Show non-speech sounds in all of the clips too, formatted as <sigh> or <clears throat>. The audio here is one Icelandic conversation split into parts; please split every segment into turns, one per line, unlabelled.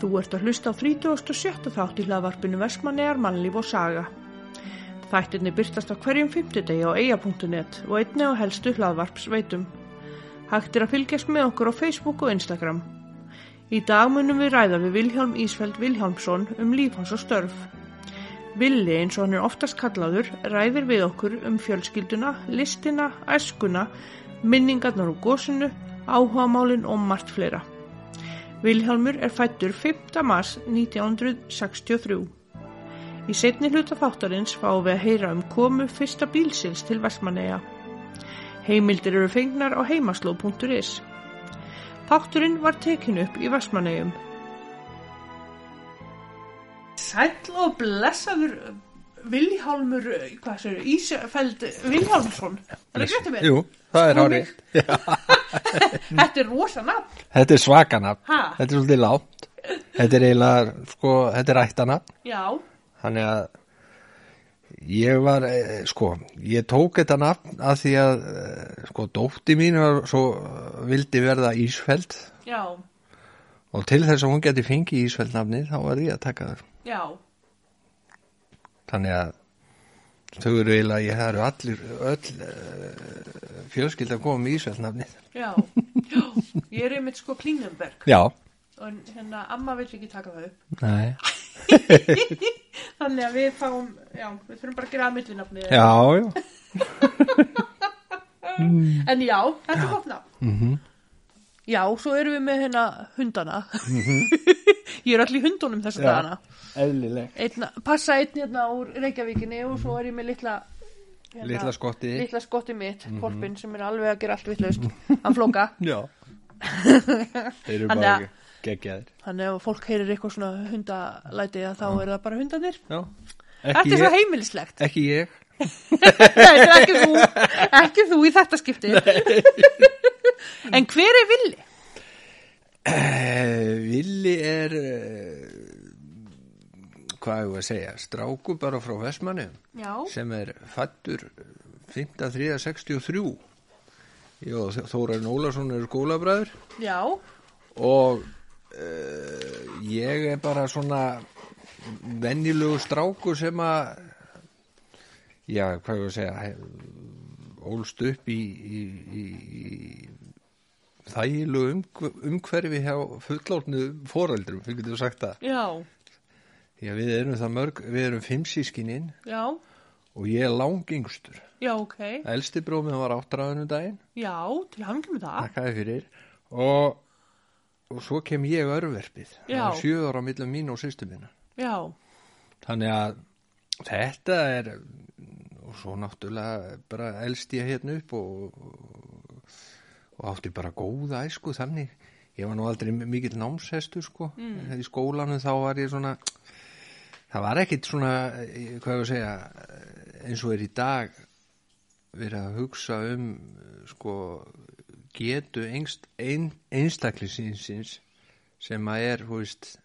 Þú ert að hlusta á 37. þátt í hlaðvarpinu Vestmannegar mannlíf og saga. Þættinni byrtast á hverjum fymtudegi á eia.net og einni á helstu hlaðvarpsveitum. Hægt er að fylgjast með okkur á Facebook og Instagram. Í dag munum við ræða við Vilhjálm Ísfeld Vilhjálmsson um líf hans og störf. Villi, eins og hann er oftast kallaður, ræðir við okkur um fjölskylduna, listina, æskuna, minningarnar og gósinu, áhugamálin og margt fleira. Vilhjálmur er fættur 5. mars 1963. Í setni hluta þáttarins fáum við að heyra um komu fyrsta bílsins til Vestmanneia. Heimildir eru fengnar á heimasló.is. Þátturinn var tekin upp í Vestmannegjum. Sæll og blessaður uh, Vilhjálmur, hvað sér, Ísfeld Vilhjálmsson. Er það greitt að
Jú, það er
Hún
árið.
Þetta er rosa nafn.
Þetta er svakanafn,
Ha?
þetta er svolítið lágt. Þetta er eiginlega, sko, þetta er ættanafn.
Já,
Þannig að ég var, eh, sko, ég tók þetta nafn að því að, eh, sko, dótti mín var svo eh, vildi verða Ísfeld
já,
og til þess að hún geti fengið Ísfeld nafni þá var ég að taka þér.
já,
Þannig að þau eru eiginlega, ég það eru allir, öll eh, fjölskylda að koma með Ísfeld nafnið.
já. já. Ég er einmitt sko Klingenberg.
Já,
og hérna amma vill ekki taka það upp
nei.
þannig að við fáum, já, við þurfum bara að gera að millinafni
Já, já.
en já, þetta er gott nafn
Mhm.
-hmm. já, svo erum við með hérna hundana <laughs> ég er allir í hundunum þessa
Mhm. Já.
dagana
Eðlileg.
einn, passa einn hérna úr Reykjavíkinni og svo er ég með litla hérna,
Litla Mhm. skottið.
litla skotti mitt, mm sem er alveg að gera allt vitlaust hann flóka
Já <laughs> Þeir eru
Þannig
bara
að-
geggjaðir
þannig að ef fólk heyrir eitthvað svona hundalæti að þá er það bara hundanir
Já
þetta
Ekki
er svo
ég,
heimilislegt
ekki ég
Nei, þetta er ekki þú, ekki þú í þetta skipti. en hver er villi?
eh, Villi er eh, hvað hefur að segja stráku bara frá Vestmanni
Já,
sem er eh, fættur 5363 Jó, Þórarin Ólason eru skólabræður
já,
og uh, ég er bara svona venjulegu stráku sem að já, hvað ég að segja he- ólst upp í, í, í, í þægilegu umhver, umhverfi hjá fullornu foreldrum, fyrir getur sagt það
já,
já, við erum það mörg, við erum fimm sískininn
já,
og ég er langingstur
já, ok,
elsti brómið var áttræðinu daginn
já, til hangjum með það.
Takkaði fyrir og, og svo kem ég örverfið
Já.
Það er sjö ára á millum mín og sýstu minna
Já,
þannig að þetta er og svo náttúrulega bara elst ég hérna upp og, og, og átti bara góða æsku þannig ég var nú aldrei mikill námshestur sko í skólanum þá var ég svona það var ekkit svona eh, hvað ég að segja eh, eins og er í dag verið að hugsa um eh, sko getu einst, ein, einstaklisins sem að er þú veist,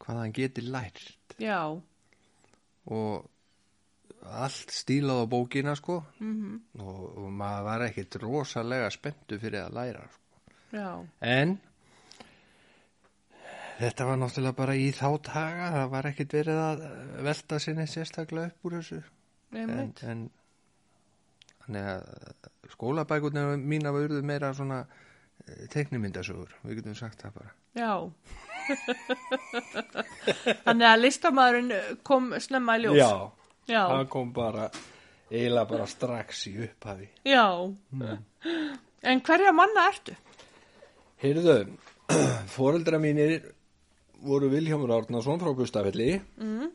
hvað hann geti lært
já,
og allt stílað á bókina sko -hmm.
Mhm.
og, og maður var ekkit rosalega spenntu fyrir að læra sko.
já,
en þetta var náttúrulega bara í þá taga það var ekkit verið að eh, velta sinni sérstaklega upp úr þessu en,
einmitt,
en þannig að eh, skólabækurnar mína voruð meira svona eh, teiknimyndasögur, við getum sagt það bara
já. Þannig að listamaðurinn eh, kom snemma í ljós. Já,
kom bara eiginlega bara strax í upphafi
já.
Mm.
En hverja manna ertu?
Heyrðu, <clears throat> foreldra mínir voru Vilhjámur Árnason frá Gustafelli mm.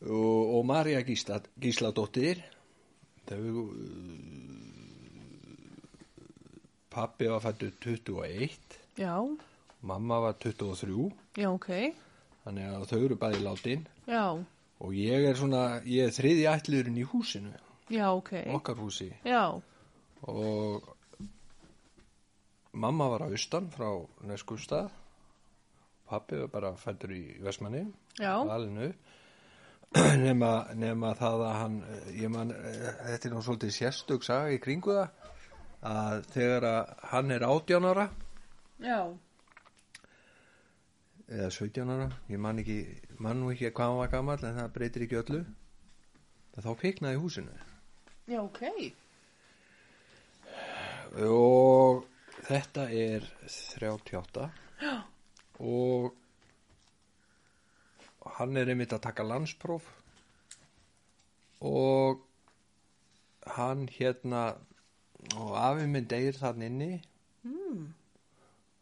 og, og Marja Gísla, Gísladóttir þau uh, pappi var fættu 21
Já,
mamma var 23
já, ok,
þannig að þau eru bæði látin
já,
og ég er svona, ég er þriði ætliðurinn í húsinu,
já, ok,
okkar húsi
já,
og mamma var á austan frá Neskustad pappi var bara fættur í Vestmanni
Já.
alinu <clears throat> nema, nema það að hann ég man, eh, þetta er nú svolítið sérstök saga í kringu það að þegar að hann er átján ára
já,
eða 17 ára, ég man ekki man nú ekki hvað hann var gammal en það breytir ekki öllu að þá kviknaði í húsinu
Já, ok.
og þetta er 38
Já.
og hann er einmitt að taka landspróf og hann hérna og afi minn deyr þann inni mm.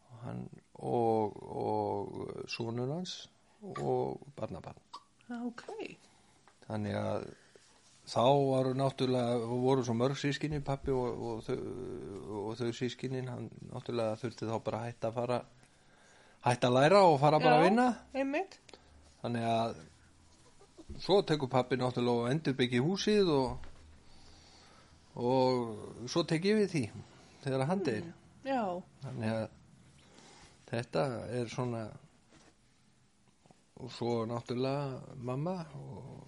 og hann og, og sonur hans og barnabarn
Já, ok.
þannig að þá var náttúrulega voru svo mörg sískinni pappi og, og, þau, og þau sískinin hann náttúrulega þurfti þá bara að hætta að fara hætta að læra og fara bara
Já,
að vinna
Einmitt.
þannig að svo tekur pappi náttúrulega og endurbyggi húsið og og svo tek ég við því þegar hann deyr
Já.
þannig að þetta er svona og svo náttúrulega mamma og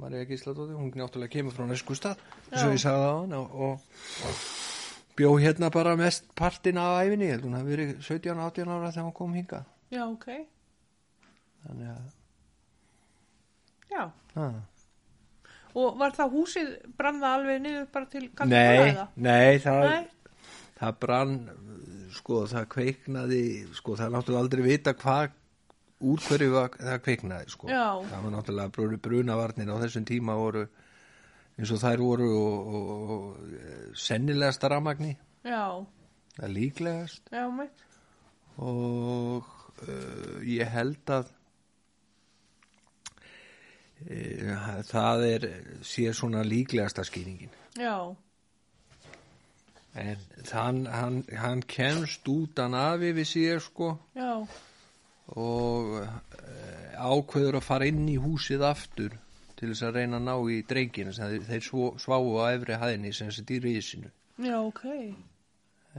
Marja Gísladóttir, hún náttúrulega kemur frá Neskustad, eins og
Já.
ég sagði á hann og, og bjó hérna bara mest partin af æfinni, ég held hún hafi verið 17-18 ára þegar hún kom hinga
Já, ok.
þannig að,
Já.
að
Og var það húsið, brann það alveg niður bara til
Nei,
eða?
nei, það,
Nei.
það brann, sko, það kveiknaði, sko, það er náttúrulega aldrei vita hvað, úr hverju var- það kveiknaði, sko.
Já.
Það var náttúrulega brun- brunavarnir á þessum tíma voru, eins og þær voru og, og, og, og sennilegast ramagni,
Já,
það er líklegast
já, mitt.
og uh, ég held að uh, það er, sé svona líklegasta skýringin.
Já,
En hann, hann, hann kemst út hann afi við sér sko
já,
og eh, ákveður að fara inn í húsið aftur til þess að reyna að ná í drengina sem þeir, þeir svo- sváu á efri hæðinni sem þessi dýri í sinu
já, ok.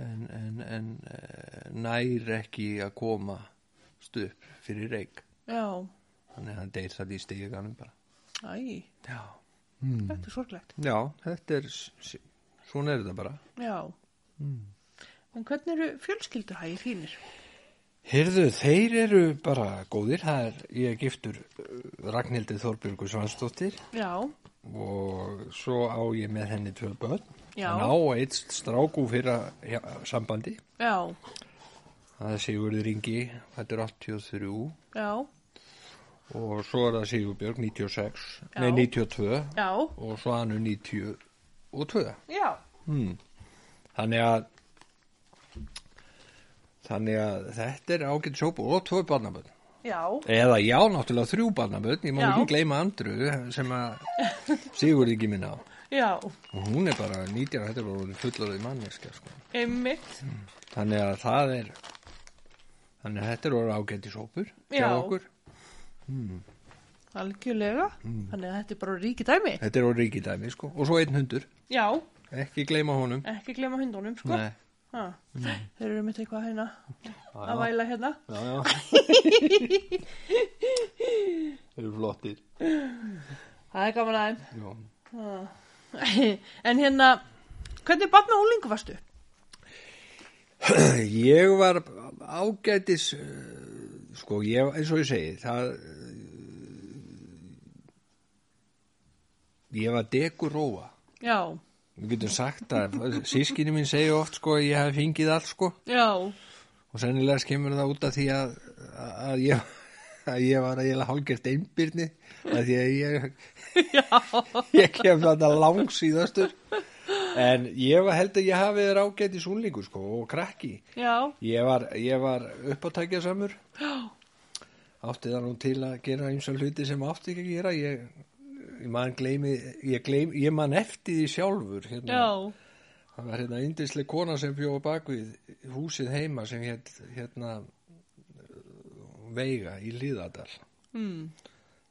en, en, en eh, nær ekki að koma stup fyrir reik
Já,
þannig að hann deyr það í steganum bara
æ,
Já, Hmm.
þetta er sorglegt.
Já þetta er s- s- svona er þetta bara
Já.
Hmm.
En hvernig eru fjölskylduhægir þínir?
Heyrðu, þeir eru bara góðir, það er, ég er giftur uh, Ragnhildi Þorbjörgu Svansdóttir
Já,
og svo á ég með henni tvö börn.
Já.
Hann á eitt stráku fyrir já, sambandi,
já,
það er Sigurður Ingi, þetta er 83
já,
og svo er það Sigurbjörg 96,
Já.
nei 92
já,
og svo hann er 92.
já,
Hmm. Þannig að Þannig að þetta er ágætt sjópu og tvö barnaböld.
já,
Eða já, náttúrulega þrjú barnaböld, ég má
Já.
ekki gleyma Andru sem að
<laughs>
Sigurði ekki minna á.
já,
Og hún er bara 19, þetta er bara orðin fullorðið manneskja, sko.
einmitt,
Þannig að það er, þannig að þetta er orðið ágæti sópur hjá
Já.
okkur.
algjörlega,
Hmm.
þannig að þetta er bara ríki dæmi.
Þetta er orðið ríkidæmi, sko. Og svo einn hundur,
Já,
ekki gleyma honum.
ekki glema hundunum, sko.
Nei.
Ha. Þeir eru mitt eitthvað hérna, að væla hérna.
Já,
<laughs>
já. Þeir eru flottir.
Það er gaman aðeim.
Já.
<laughs> en hérna, hvernig barn og úlingu varstu?
Ég var ágætis, eh, sko, ég, eins og ég segi, það, eh, ég var dekuróa.
Já,
Við getum sagt að sískinni mín segja oft, sko, að ég hef fengið allt, sko.
já,
og sennilega kemur það út af því að, að, ég, að ég var eiginlega hálgert einbyrni af því að ég, ég kem þetta langsíðastur en ég var held að ég hafi þér ágætt í súnlingu sko og krakki
já,
ég var, ég var uppátækja samur átti það nú til að gera eins og hluti sem átti ekki að gera ég, ég man gleymi ég, gleym, ég man eftir því sjálfur hérna.
já,
Það var hérna yndisleg kona sem bjóð bakvið húsið heima sem hétt hérna uh, Veiga í Líðadal.
mm.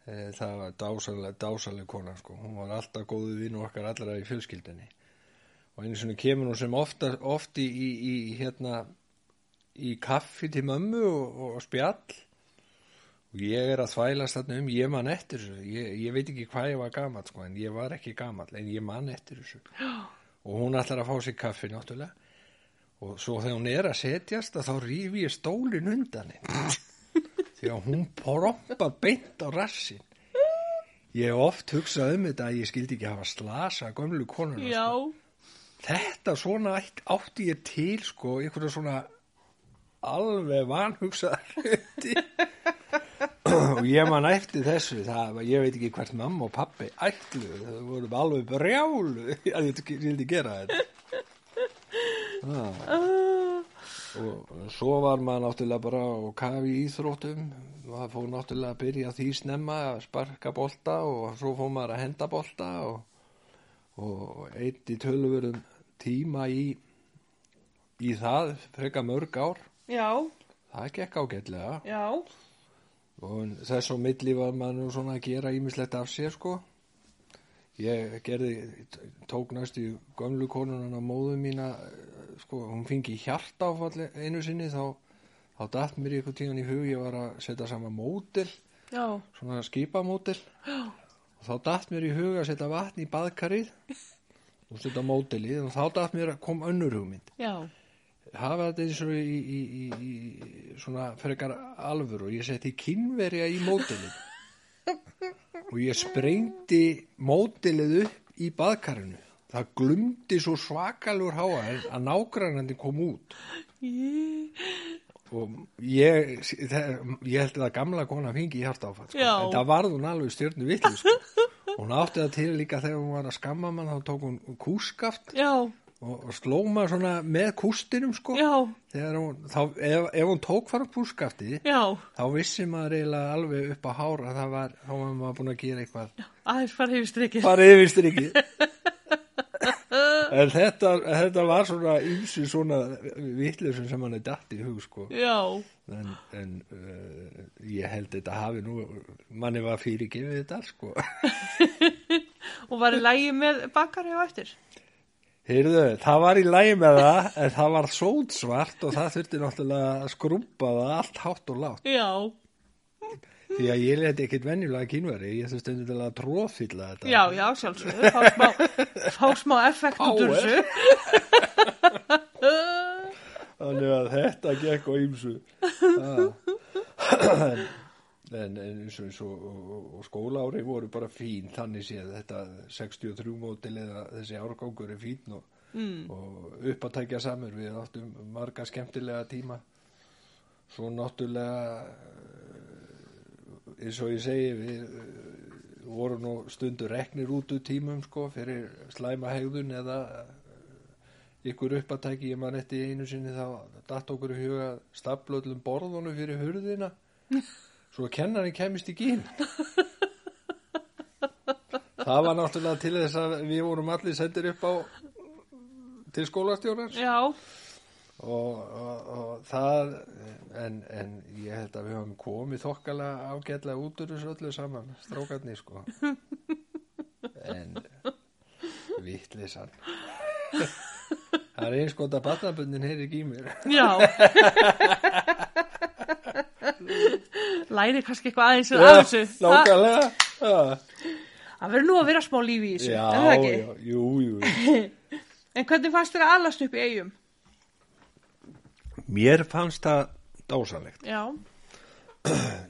Eh, Það var dásalega, dásalega kona sko. Hún var alltaf góðu vinn okkar allra í fjölskyldinni. Og einu svona kemur hún sem ofta, oft í, í, í hérna í kaffi til mömmu og, og spjall og ég er að þvælast þarna um, ég man eftir þessu ég, ég veit ekki hvað ég var gamall sko, en ég var ekki gamall, en ég man eftir þessu og hún ætlar að fá sér kaffi náttúrulega og svo þegar hún er að setjast að þá rífi ég stólin undan henn því að hún proppa beint á rassin ég hef oft hugsað um þetta að ég skildi ekki hafa slasa gömlu konuna
Já,
sko. þetta svona ætt- átti ég til sko einhverja svona alveg vanhugsaðar hluti og ég man eftir þessu það, var- ég veit ekki hvert mamma og pappi ætlu, það voru alveg brjálu að ég vildi gera þetta
Uh,
og svo var maður náttúrulega bara á kafi í íþróttum maður fór náttúrulega að byrja því snemma að sparka bolta og svo fór maður að henda bolta og, og eitt í tölvörum tíma í í það freka mörg ár
já,
það gekk ágætlega
já,
og þess og milli var maður nú svona að gera ímislegt af sér sko ég gerði tók næstu gömlu konunan á móðu mína eh, sko, hún fengi hjarta áfall einu sinni þá, þá datt mér eitthvað tíðan í hug ég var að setja saman mótil
já,
svona skipamótil og þá datt mér í hug að setja vatn í baðkarið og setja mótilið og þá datt mér að kom önnur hugmynd
já,
hafa þetta eins og í, í, í, í svona frekar alvöru og ég setti kynverja í mótilið og ég sprengdi mótilið upp í baðkarinu það glumdi svo svakalur háa að nágrannandi kom út
Í-
og ég það- ég held að það gamla kona fengi í hjartáfall sko.
Já.
en það varð hún alveg stjörnu vitlu sko. hún átti það til líka þegar hún var að skamma mann þá tók hún kúskaft
já,
og, og sló maður svona með kústinum sko.
já,
þegar hún, þá, ef, ef hún tók fara kúskaftið
já,
þá vissi maður eiginlega alveg upp á hár að það var, þá var maður búin að gera eitthvað
aðeins farið yfir strikið.
bara yfir strikki en þetta, þetta var svona ímsi svona vitleysum sem hann er datt í hug sko
Já,
en, en uh, ég held þetta hafi nú manni var fyrirgefið þetta allt, sko <laughs>
og var í lægi með bakari á eftir.
heyrðu, það var í lægi með það en það var sótsvart og það þurfti náttúrulega að skrúmpa það allt hátt og látt
Já,
því að ég leti ekkit venjulega kínveri ég þurfti endilega að trófylla þetta
já, já, sjálfsögðu, fá <laughs> smá, fá smá effekt út úr
Power.
þessu. <laughs>
Þannig að þetta gekk á ýmsu. Ah. en, en eins og, eins og, og, og skólaári voru bara fín, þannig séð þetta 63 mótil eða þessi árgangur er fín og, mm. og upp að tækja samur. Við áttum marga skemmtilega tíma. Svo náttúrulega, eh, eins og ég segi, við eh, vorum nú stundur reknir út úr tímum sko fyrir slæma hegðun eða ykkur uppatæki, ég man eftir einu sinni þá datt okkur í huga að stapla öllum borðunum fyrir hurðina svo að kennarinn kemist ekki inn það var náttúrulega til þess að við vorum allir sendir upp á til skólastjórar og,
Já,
og, og það en, en ég held að við höfum komið þokkala ágætlega út úr þessu öllu saman
<laughs>
strókarni sko en vittlisann það er eins gott að batnabundin heyri ekki í mér
<laughs> já. Læri kannski eitthvað aðeins af
Já,
þessu. Það-
<laughs> nákvæmlega Já,
Það verður nú að vera smá lífi í þessu,
já,
er það ekki?
já, jú, jú
En hvernig fannst þér að allast upp í eigum?
Mér fannst það dásanlegt
Já,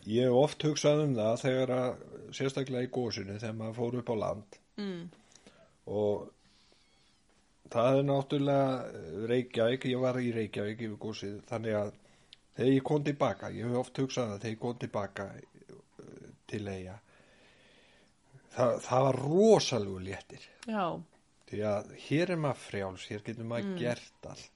Ég hef oft hugsað um það þegar að sérstaklega í gósinu þegar maður fór upp á land
mm.
og það er náttúrulega eh, Reykjavík, ég var í Reykjavík yfir gósið, þannig að þegar ég kom tilbaka, ég hef oft hugsað um það þegar ég kom tilbaka eh, til eiga það, það var rosalegu léttir
já,
því að hér er maður frjáls, hér getur maður gert allt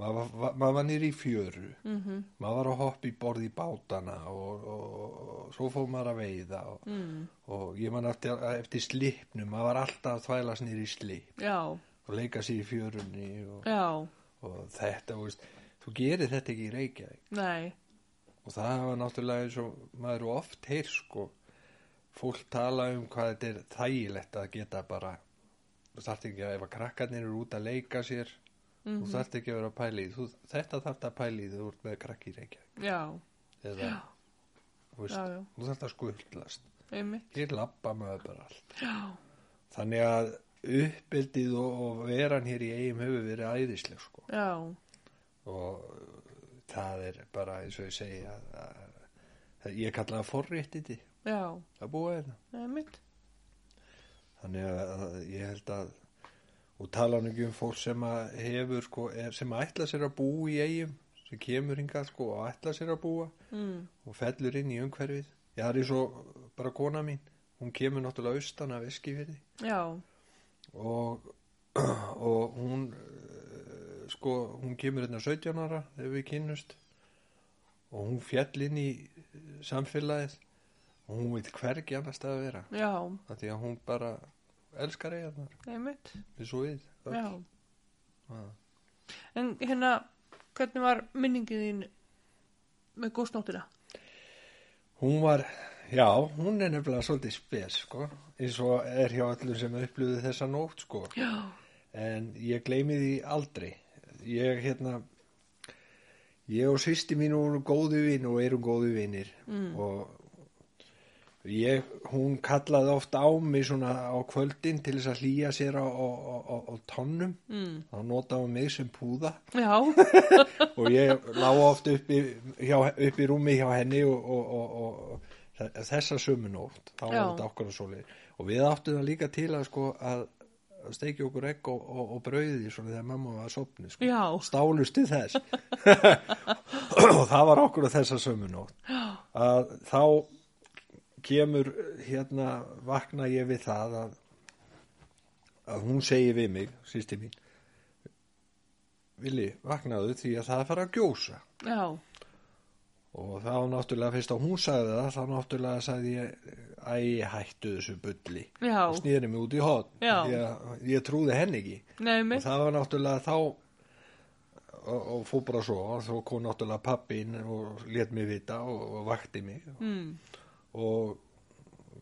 maður var, var, maður var nýri í fjöru -hmm. maður var að hoppa í borð í bátana og, og, og, og svo fór maður að veiða og, mm. og ég man eftir, eftir slipnum maður var alltaf að þvælast nýri í slip
já,
og leika sér í fjörunni og,
já,
og þetta, þú veist, þú gerir þetta ekki í Reykjavík
nei,
og það var náttúrulega eins og maður er oft heyr sko fólk tala um hvað þetta er þægilegt að geta bara þú þarft ekki að ef að krakkarnir eru út að leika sér
Mhm.
þú þarft ekki að vera að pæla í þú, þetta þarft að pæla í þegar þú ert með krakki í reykja
já,
eða þú veist,
Já, já.
þú þarft að skuldlast
einmitt,
hér lappa maður bara allt
já,
þannig að uppbyldið og, og veran hér í eigum hefur verið æðisleg sko
já,
og uh, það er bara eins og ég segi að, að, að ég kalla það forréttindi
já,
að búa hérna
einmitt
þannig að, að ég held að og tala nú ekki um fólk sem að hefur sko, er, sem ætla sér að búa í eigum sem kemur hingað sko og ætla sér að búa
mm.
og fellur inn í umhverfið ég það er eins og bara kona mín hún kemur náttúrulega austan af eskifirði
já,
og, <clears throat> og hún eh, sko, hún kemur hérna 17 ára þegar við kynnust og hún fjall inn í eh, samfélagið og hún veit hvergi annars stað að vera
já,
af því að hún bara elskar eigarnar
einmitt
við svo við öll. Ah.
já.
Já.
en hérna, hvernig var minningin þín með góðsnóttina?
hún var, já, hún er nefnilega svolítið spes sko eins og er hjá allur sem upplöðu þessa nótt sko
já,
en ég gleymi því aldrei ég hérna ég og sýsti mín voru góðu vinn og erum góðu vinnir mm. og ég, hún kallaði oft á mig svona á kvöldin til þess að hlýja sér á, á, á, á, á tónnum
mm.
þá notaði hún mig sem púða
já,
og ég lág oft upp í, hjá, upp í rúmi hjá henni og, og, og, og, og þessa sömu nótt þá var
Já.
þetta okkur að svoleið og við áttum það líka til að sko að að steikja okkur egg og, og, og brauði svona þegar mamma var að sopni sko.
Já.
stálustu þess <laughs> og það var okkur að þessa sömu nótt að þá kemur hérna vakna ég við það að, að hún segi við mig sýsti mín Vili, vaknaðu því að það er fara að gjósa
já,
og þá náttúrulega fyrst að hún sagði það þá náttúrulega sagði ég æ, hættu þessu bulli
Já.
og snýri mig út í hot
Já.
ég, ég trúði henni ekki
Nei,
og
einmitt
það var náttúrulega þá og, og fór bara svo og þó kom náttúrulega pappin og let mig vita og, og vakti mig
mm.
og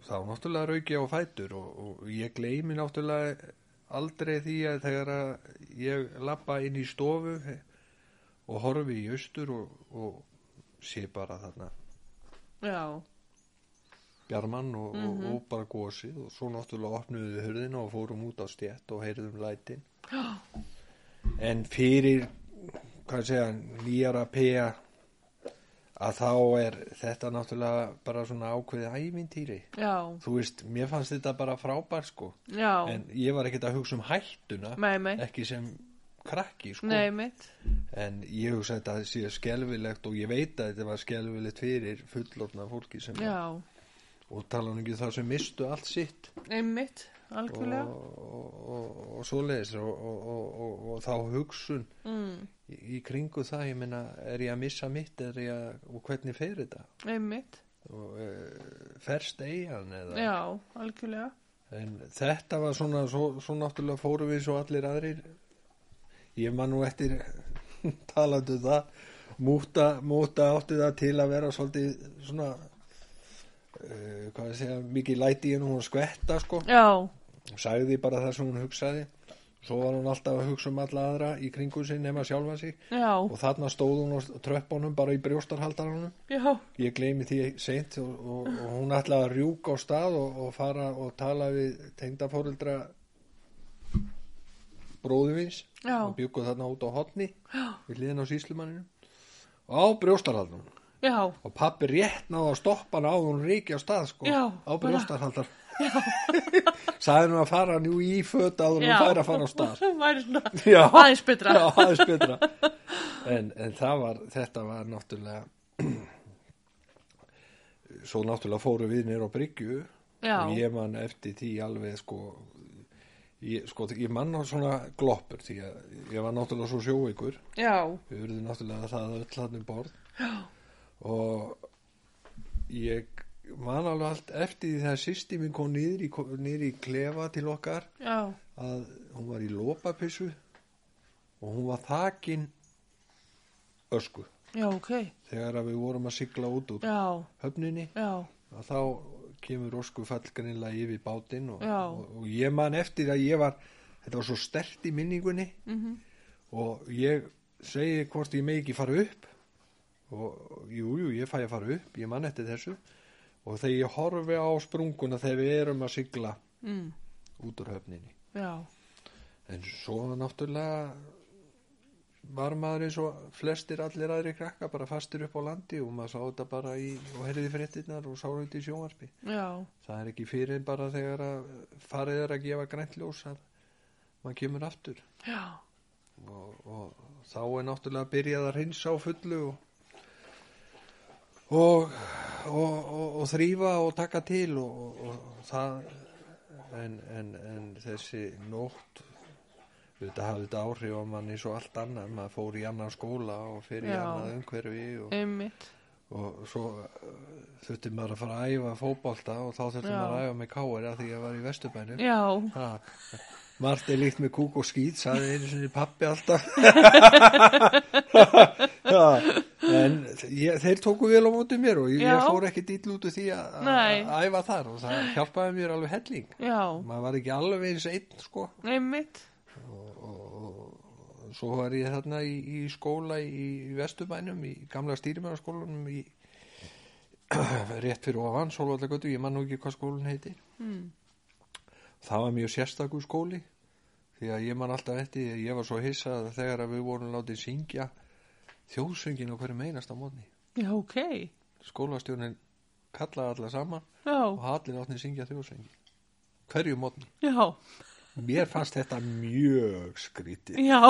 þá náttúrulega rauk ég á fætur og, og ég gleymi náttúrulega aldrei því að þegar að ég lappa inn í stofu og horfi í austur og, og sé bara þarna
já,
bjarmann og,
Mhm.
og, og bara gósið og svo náttúrulega opnuðu við hurðina og fórum út á stjætt og heyrðum
<gasps>
lætin en fyrir hvað segja, nýjara pega að þá er þetta náttúrulega bara svona ákveðið ævintýri
já,
þú veist, mér fannst þetta bara frábær sko
já
en ég var ekkert að hugsa um hættuna
Nei, nei.
ekki sem krakki sko
Nei, mitt,
en ég hugsa þetta að sé skelfilegt og ég veit að þetta var skelfilegt fyrir fullofna fólki sem
já,
og tala nú ekki um það sem mistu allt sitt
einmitt, algjörlega,
og, og, og, og svoleiðis og, og, og, og, og þá hugsun
mm,
í, í kringu það, ég meina er ég að missa mitt er ég að, og hvernig fer þetta
einmitt,
og e, ferst eigan eða
já, algjörlega,
en þetta var svona svo, svo náttúrulega fórum við svo allir aðrir ég man nú eftir <laughs> talandu það múta, múta átti það til að vera svolítið svona Uh, hvað að segja, mikið læti í hennu hún skvetta sko
já,
Hún sagði bara það sem hún hugsaði svo var hún alltaf að hugsa um alla aðra í kringum sinn nema sjálfa sig
já,
og þarna stóð hún á tröppunum bara í brjóstarhaldaranum
já,
ég gleymi því seint og, og, og hún ætlaði að rjúka á stað og, og fara og tala við tengdafóreldra bróðumins
Já.
og byggu þarna út á hotni við hliðin á síslumanninu á brjóstarhaldunum
já,
og pappi rétt náði að stoppa hann á hún reiki á stað sko,
Já,
á
bara-
brjóstarhaldar <laughs> sagði hann að fara hann jú í föt áður en
já.
hún færi að fara á stað
<laughs> Það væri svona,
Já.
aðeins betra.
Já, aðeins betra. En, en það var, þetta var náttúrulega <clears throat> svo náttúrulega fóru við nýr á bryggju
Já.
og ég man eftir því alveg sko ég, sko, ég man á svona gloppur því að ég var náttúrulega svo sjóveikur
já,
við verðum náttúrulega það öll hann um borð og ég man alveg allt eftir því þegar sýsti minn kom niður í, niður í klefa til okkar
já,
að hún var í lópapissu og hún var þakin ösku
já, ok,
þegar að við vorum að sigla út úr
já,
höfninni
já,
að þá kemur öskufall grinnlega yfir bátinn og,
Já.
og, og ég man eftir að ég var þetta var svo stert í minningunni -hmm.
Mhm.
og ég segi hvort ég megi ekki fara upp og jú, jú, ég fæ að fara upp ég man eftir þessu og þegar ég horfi á sprunguna þegar við erum að sigla
mm,
út úr höfninni
já,
En svo náttúrulega var maður eins og flestir allir aðri krakka bara fastur upp á landi og maður sá þetta bara í og herði fréttinnar og sá þetta í sjónvarpi
já,
það er ekki fyrir en bara þegar að farið er að gefa grænt ljós að maður kemur aftur
já,
og, og þá er náttúrulega byrjað að hreinsa á fullu og og, og, og, og þrýfa og taka til og, og, og það en, en, en þessi nótt þetta hafði þetta áhrif á mann eins og allt annað maður fór í annan skóla og fyrir í
Já.
annað umhverfi og,
einmitt
og svo uh, þurfti maður að fara að æfa fótbolta og þá þurfti
Já.
maður að æfa með káir að því ég var í vesturbænum
já,
Ha, Marta er líkt með kúk og skýt sagði einu sinni pappi alltaf
<laughs>
já, en ég, þeir tóku vel á móti mér og ég,
Já.
ég fór ekki dýll út úr því að-
Nei.
að æfa þar og það hjálpaði mér alveg helling
já,
maður var ekki alveg eins einn sko
einmitt
og svo var ég þarna í, í skóla í Vesturbænum í gamla stýrimannaskólanum í <clears throat> rétt fyrir ofan Sólvallagötu, ég man nú ekki hvað skólinn heitir
Mm.
það var mjög sérstakur skóli því að ég man alltaf eftir því að ég var svo hissað þegar að við vorum látið syngja þjóðsöngin á hverju meinast á mótni
já, ok
skólastjórnin kallaði alla saman og
já,
allir átni syngja þjóðsöngin hverju mótni
já,
mér fannst þetta mjög skrítið
já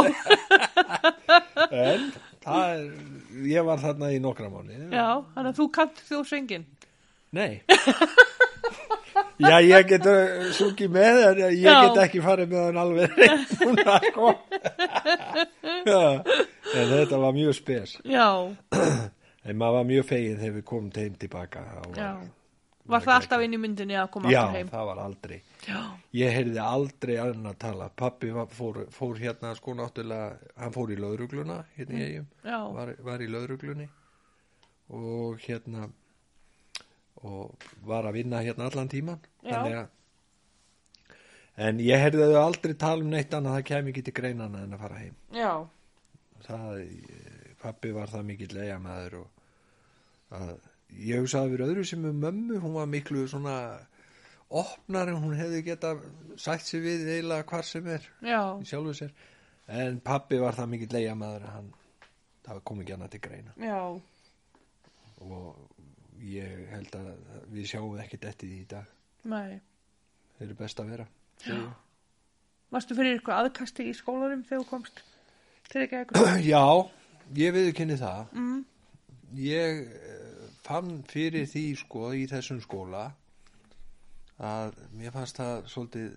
en það er, ég var þarna í nokkra mánu
já, þannig að þú kant þjóðsengin
nei já ég get uh, sungið með en ég
Já.
get ekki farið með hann alveg reynd núna sko já, en þetta var mjög spes
já,
en maður var mjög fegin þegar við komum heim tilbaka Það var,
já var það alltaf inn í myndinni að koma
já,
aftur heim
það var aldrei
já,
ég heyrði aldrei annan að tala pappi var, fór, fór hérna sko náttúrulega hann fór í löðrugluna hérna í eigum
Mm, já,
var, var í löðruglunni og hérna og var að vinna hérna allan tíman
Já.
að en ég heyrði þau aldrei tala um neitt annað það kæmi ekki til greinana en að fara heim
já,
það, eh, pabbi var það mikill eigamæður og að, ég hugsaði fyrir öðru sem um mömmu hún var miklu svona opnar en hún hefði geta sætt sér við eiginlega hvar sem er
já
í sjálfu sér en pabbi var það mikill eigamæður að hann, það kom ekki annað til greina
já,
og ég held að við sjáum ekkert eftir því í dag
nei
þeir eru best að vera já,
varstu fyrir eitthvað aðkasti í skólanum þegar þú komst til ekki
<coughs>
eitthvað
ég viðurkenni það
mm,
ég eh, fann fyrir því sko í þessum skóla að mér fannst það svolítið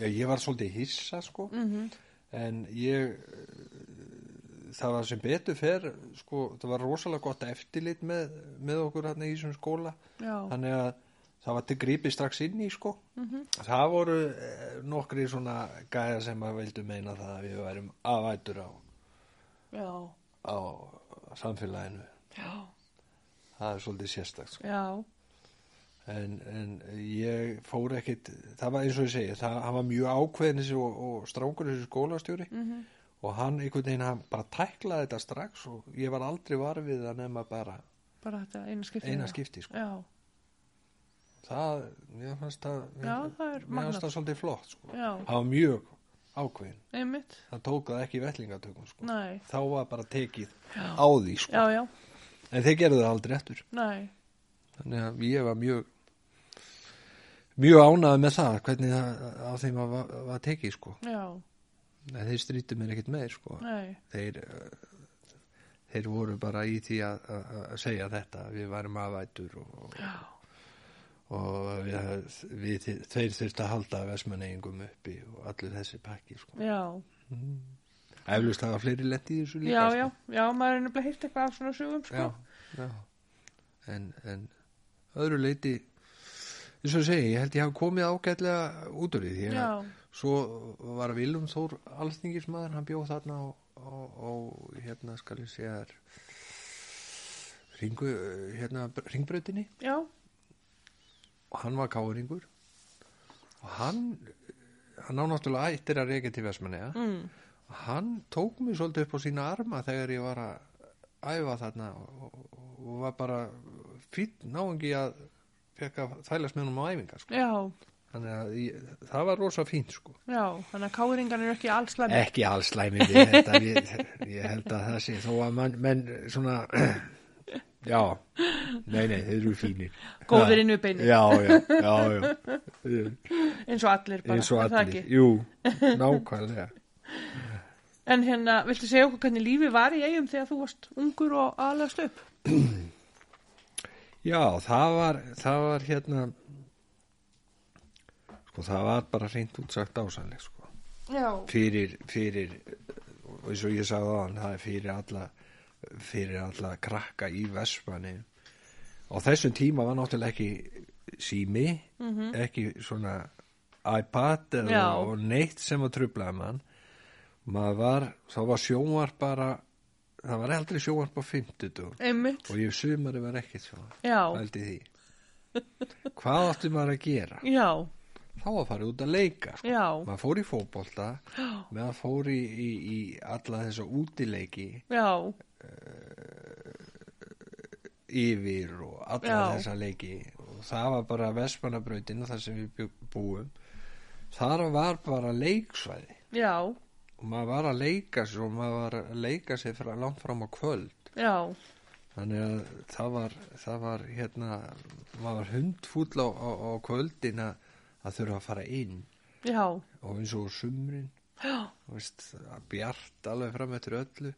já, ég var svolítið hissa sko
mm
en ég eh, það var sem betur fer sko, það var rosalega gott eftirlit með, með okkur hérna í þessum skóla
já,
þannig að það var til grípi strax inn í sko það voru eh, nokkri svona gæða sem að vildu meina það að við værum afætur á,
já,
á samfélaginu
já
það er svolítið sérstakt sko.
já,
en, en ég fór ekkit það var eins og ég segi, það hann var mjög ákveðnis og, og strákur þessi skólastjóri
mhm,
og hann einhvern veginn hann bara tæklaði þetta strax og ég var aldrei varfið að nefna bara
bara þetta eina skipti
eina skipti sko.
já,
það, mér fannst það
Já, það er
mér fannst
magnað.
það svolítið flott sko.
já,
það var mjög ákveðin
einmitt
það tók það ekki í vellingatökum sko.
nei,
þá var bara tekið
Já.
á því sko.
já, já,
en þeir gerðu það aldrei eftir
nei
þannig að ég var mjög mjög ánæði með það hvernig það á þeim var, var- var tekið sko.
já,
en þeir strýttu mér ekkert meir sko.
nei,
þeir eh, þeir voru bara í því að, að, að segja þetta við varum afætur og, og,
já
og við, við, þeir þurftu að halda vesmaneyingum uppi og allur þessi pakki sko.
Já,
eflust það var fleiri lett í þessu líka
já,
sko.
já, já, maður er nefnilega hýrt eitthvað af svona sögum, sko.
já, já. En, en öðru leiti eins og ég segi, ég held ég hafa komið ágætlega út úr því því að
Já,
svo var Vilum Þór alþingismæður, hann bjóð þarna á, á, á hérna skal ég segja þér, ringu, hérna ringbrautinni
já,
og hann var káringur og hann hann á náttúrulega ættir að reyka til Vestmanneja
mm,
hann tók mig svolítið upp á sína arma þegar ég var að æfa þarna og, og- og var bara fýtt náungi að fekk að þælast með honum á æfingar sko.
já,
þannig að ég, það var rosa fínt sko
Já, þannig að káringan eru ekki alls slæmi.
ekki alls slæmi við þetta ég, ég held að það sé þó að mann, menn svona <clears throat> já, nei nei, þeir eru fínir
Góðir inn við beinið.
já, já, já, já.
eins og allir bara.
Eh, eins og
er það
allir,
ekki? <laughs>
jú nákvæmlega
En hérna, viltu segja okkur hvernig lífið var í eigum þegar þú varst ungur og aðlegast upp?
já, það var það var hérna sko það var bara reynd útsagt ásanleg sko
Já.
fyrir, fyrir og eins og ég sagði á það er fyrir alla fyrir alla krakka í Vestmanni á þessum tíma var náttúrulega ekki sími ekki svona iPad eða,
Mhm. Já.
og neitt sem að trublaði mann maður var, þá var sjónvarp bara það var aldrei sjónvarp á 50
Einmitt.
og ég sumari var ekki sjónvarp
Já.
held í því hvað átti maður að gera
Já.
þá að fara út að leika sko.
Já.
maður fór í fótbolta meðan fór í, í, í alla þessa útileiki
Já.
yfir og alla
Já.
þessa leiki og það var bara Vestmannabrautin þar sem við bjó- búum þar var bara leiksvæði
Já.
og maður var að leika sér og maður var að leika sér frá, langt fram á kvöld
Já.
þannig að það var, það var hérna maður var hundfúll á, á, á kvöldin að, að þurfa að fara inn
Já.
og eins og á sumrin
Já.
Þú veist, að bjart alveg fram eftir öllu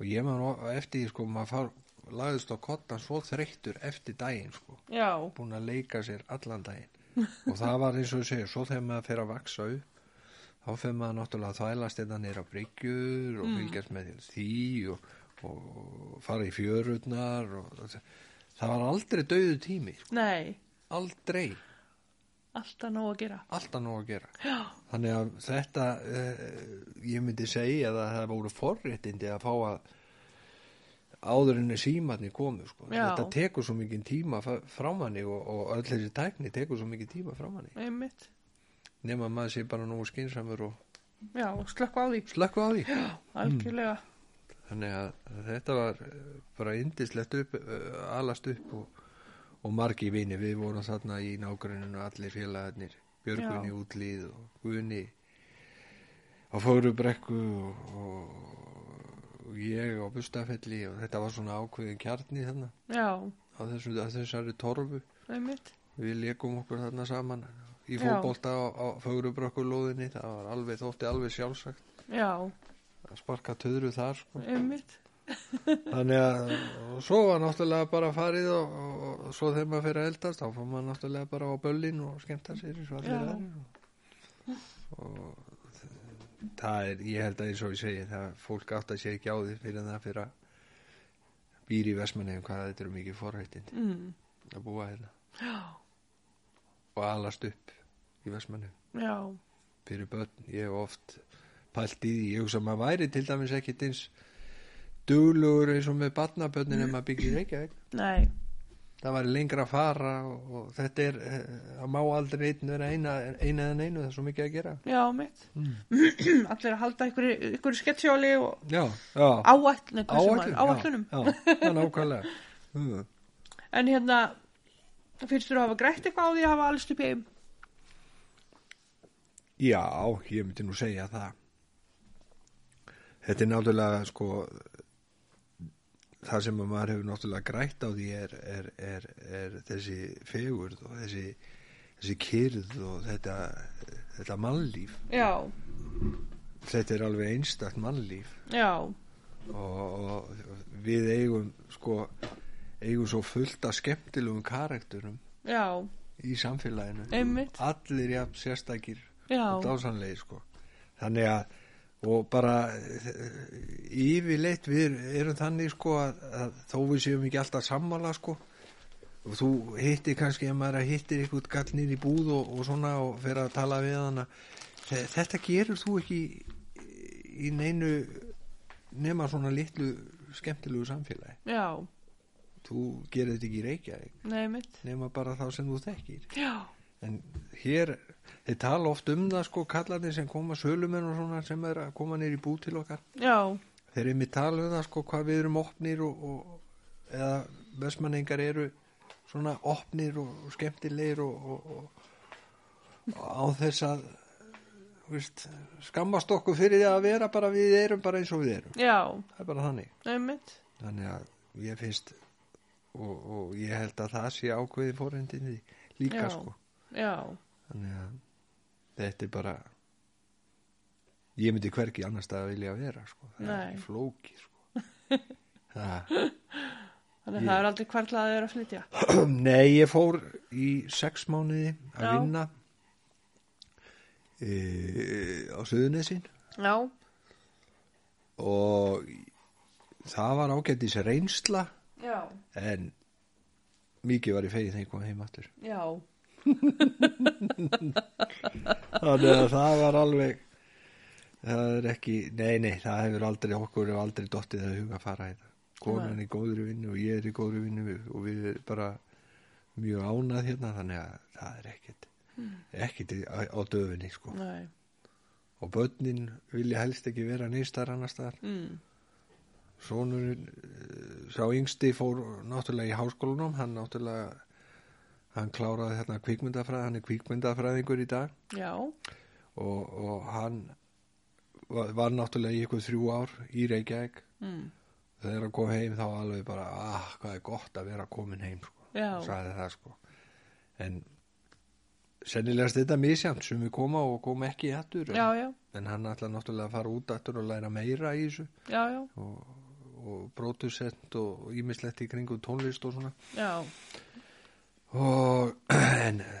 og ég maður eftir því sko maður far, lagðist á kottan svo þreyttur eftir daginn sko
Já.
búin að leika sér allan daginn og það var eins og ég segja, svo þegar maður fer að vaksa upp þá fer maður náttúrulega að þvælast þetta nýra bryggjur og fylgjast með því og, og fara í fjörurnar og það var aldrei döðu tími sko.
Nei.
aldrei,
Alltaf nóg að gera.
alltaf nóg að gera
Já.
Þannig að þetta, uh, ég myndi segja að það voru forréttindi að fá að áður enni símanni komu sko.
Já.
Þetta tekur svo mikið tíma fa- frá manni og, og öll þessi tækni tekur svo mikið tíma frá manni.
Einmitt.
Nefn að maður sé bara nú skinsamur og
Já, slökk á því.
slökku á því.
Algjörlega.
Mm. Þannig að þetta var eh, bara indislegt upp, eh, alast upp og, og margi vini. Við vorum þarna í nágruninu allir félagarnir, Björgun
Já.
í útlíð og Guðni á Fórubrekku og, og, og ég á Bustafelli og þetta var svona ákveðin kjarni þarna
Já.
á þessu, á þessari torfu.
Einmitt.
Við leikum okkur þarna saman í
Já.
fótbolta á, á Fórubrekku lóðinni. Það var alveg, þótti alveg sjálfsagt
Já.
að sparka töðru þar sko.
Einmitt.
Þannig að og svo var náttúrulega bara farið og, og, og svo þegar maður fyrir að eldast þá fór maður náttúrulega bara á böllin og skemmta sér eins og allir
Já.
aðrir og, og þ- það er, ég held að eins og ég segi það fólk átt að sé ekki á því fyrir en það fyrir að býr í Vestmanniðum hvað þetta eru mikið forrættin
Mm.
að búa hérna
Já.
og alast upp í Vestmanniðum
Já.
fyrir börn, ég hef oft pælt í því, ég hugsa að maður væri til dæmis ekkit eins duglugur eins og með barnabörnin en maður byggir ekki
Nei.
það var lengra að fara og, og þetta er, eh, það má aldrei einn vera eina, eina en einu, það er svo mikið að gera
Já, mitt.
Hmm.
<clears throat> Allir að halda ykkur, ykkur sketsjóli og
já, já
áætlun, hvað sem var,
já,
áætlunum.
já, það er nákvæmlega Mm.
En hérna, finnst þú að hafa grætt eitthvað á því að hafa alls upp í heim?
já, ég myndi nú segja það þetta er náttúrulega sko það sem að maður hefur náttúrulega grætt á því er, er, er, er þessi fegurð og þessi, þessi kyrð og þetta, þetta mannlíf
Já,
þetta er alveg einstakt mannlíf
já,
og, og við eigum sko eigum svo fullt af skemmtilegum karakterum
já,
í samfélaginu
Einmitt.
allir jafn sérstakir og
já,
dásanlegir sko þannig að og bara eh, yfirleitt við erum þannig sko að, að þó við séum ekki alltaf sammála sko og þú hittir kannski ef maður er að hittir eitthvað gallnir í búð og, og svona og fer að tala við hana Þe- þetta gerur þú ekki í- í neinu nema svona litlu skemmtilegu samfélagi
já,
þú gerir þetta ekki í Reykjavík
nei, mitt,
nema bara þá sem þú þekkir
já,
en hér þeir tala oft um það sko kallarnir sem koma sölumenn og svona sem er að koma nýr í bú til okkar
já,
þeir eru mér tala um það sko hvað við erum opnir og, og eða vestmanningar eru svona opnir og, og skemmtilegir og, og, og á þess að þú veist, skammast okkur fyrir því að vera bara við erum bara eins og við erum
Já,
það er bara þannig
einmitt.
þannig að ég finnst og, og ég held að það sé ákveði fórhendinni líka
Já.
sko
Já,
þannig að þetta er bara ég myndi hvergi annars að vilja vera sko það er
Nei.
ekki flóki
<laughs>
sko það, <clears throat>
þannig að það er aldrei hvarlað að vera að flytja.
nei ég fór í sex mánuði
Já.
að vinna e, á söðunesin
Já,
og það var ágættis reynsla
já,
en mikið var í fegið þegar ég kom heim aftur
já,
þannig að það var alveg það er ekki, nei nei það hefur aldrei okkur og aldrei dottið að huga að fara hérna konan er í góðri vinnu og ég er í góðri vinnu við- og við erum bara mjög ánað hérna þannig að það er ekkit ekkit í- á, á döfunni sko
nei,
og börnin vilja helst ekki vera nýstar annars þar
mm.
sonurinn eh, sá yngsti fór náttúrulega í háskólanum hann náttúrulega hann kláraði hérna kvikmyndafræð hann er kvikmyndafræðingur í dag
já,
og, og hann var, var náttúrulega í ykkur þrjú ár í Reykjavík
mm.
þegar hann kom heim þá alveg bara ah, hvað er gott að vera komin heim sko.
Já.
Hann sagði það sko en sennilegast þetta misjant sem við koma og koma ekki hættur
já, já,
en hann ætla náttúrulega að fara út hættur og læra meira í þessu
já, já,
og, og brótusett og ímislegt í kringu tónlist og svona
já,
og <clears throat> en eh,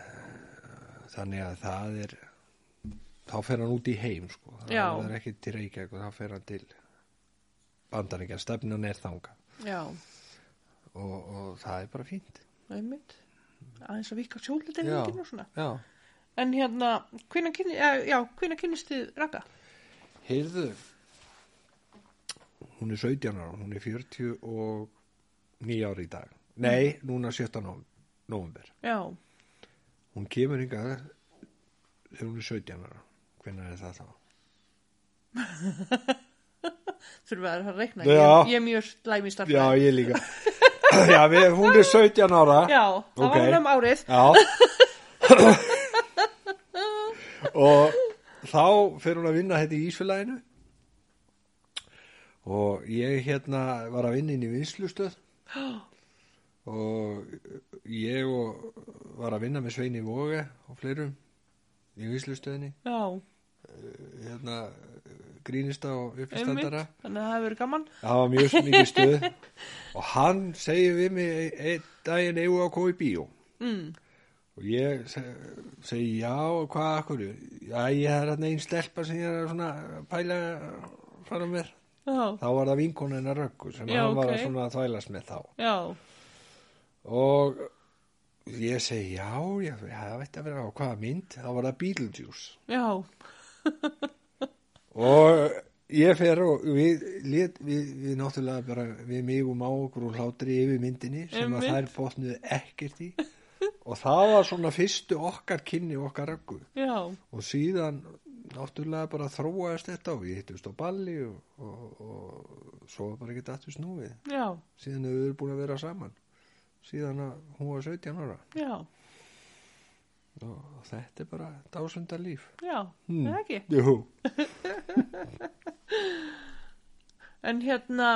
þannig að það er þá fer hann út í heim sko það
Já.
það er ekki til Reykjavík og þá fer hann til bandaríkja, stefnan er þanga
já,
og, og það er bara fínt
einmitt. Aðeins að vika sjóldið
Já.
hengið og svona.
Já,
En hérna, hvenær kynni, eh, já, hvenær kynnist þið Raka?
heyrðu hún er 17 ára hún er 49 ára í dag nei,
Mm.
núna 17 november
Já,
hún kemur hingað þegar hún er 17 ára hvenær er það þá?
þurfum við að reikna.
Já.
Ég, ég er mjög slæmi starfæð.
Já, ég líka Já, við, hún er 17 ára
já, það
Ok.
var hún um árið. <laughs>
Já Og þá fer hún að vinna hérna í Ísfélaginu og ég hérna var að vinna inn í
<gasps>
vinslustöð og ég og var að vinna með Sveini Vóge og fleirum í vinslustöðinni
Já,
hérna grínista og
einmitt.
uppstandara
Þannig að það hefur verið gaman.
það var mjög mikið stuð
<laughs>
og hann segir við mig einn daginn eigum við að koma í bíó
Mm.
og ég seg- segi já og hvað akkur já ég er hann einn stelpa sem ég er svona að pæla að fara með
Já,
þá var það vinkona hennar röggu sem
Já,
hann var
ok.
að svona að þvælast með þá
já,
og ég segi já, já það veit að vera á hvaða mynd þá var það Beetlejuice
já,
og ég fer og við, lét, við, við náttúrulega bara við migum á okkur og hlátri yfir myndinni sem að
Einmitt.
þær botnuðu ekkert í og það var svona fyrstu okkar kynni okkar röggu
já,
og síðan náttúrulega bara þróaðist þetta og við hittumst á balli og, og, og svo var bara ekki aftur snúið
já,
síðan hefur við búin að vera saman síðan að hún var 17 ára
já,
og þetta er bara dásundar líf
já,
Hmm.
eða ekki.
Jú.
En hérna,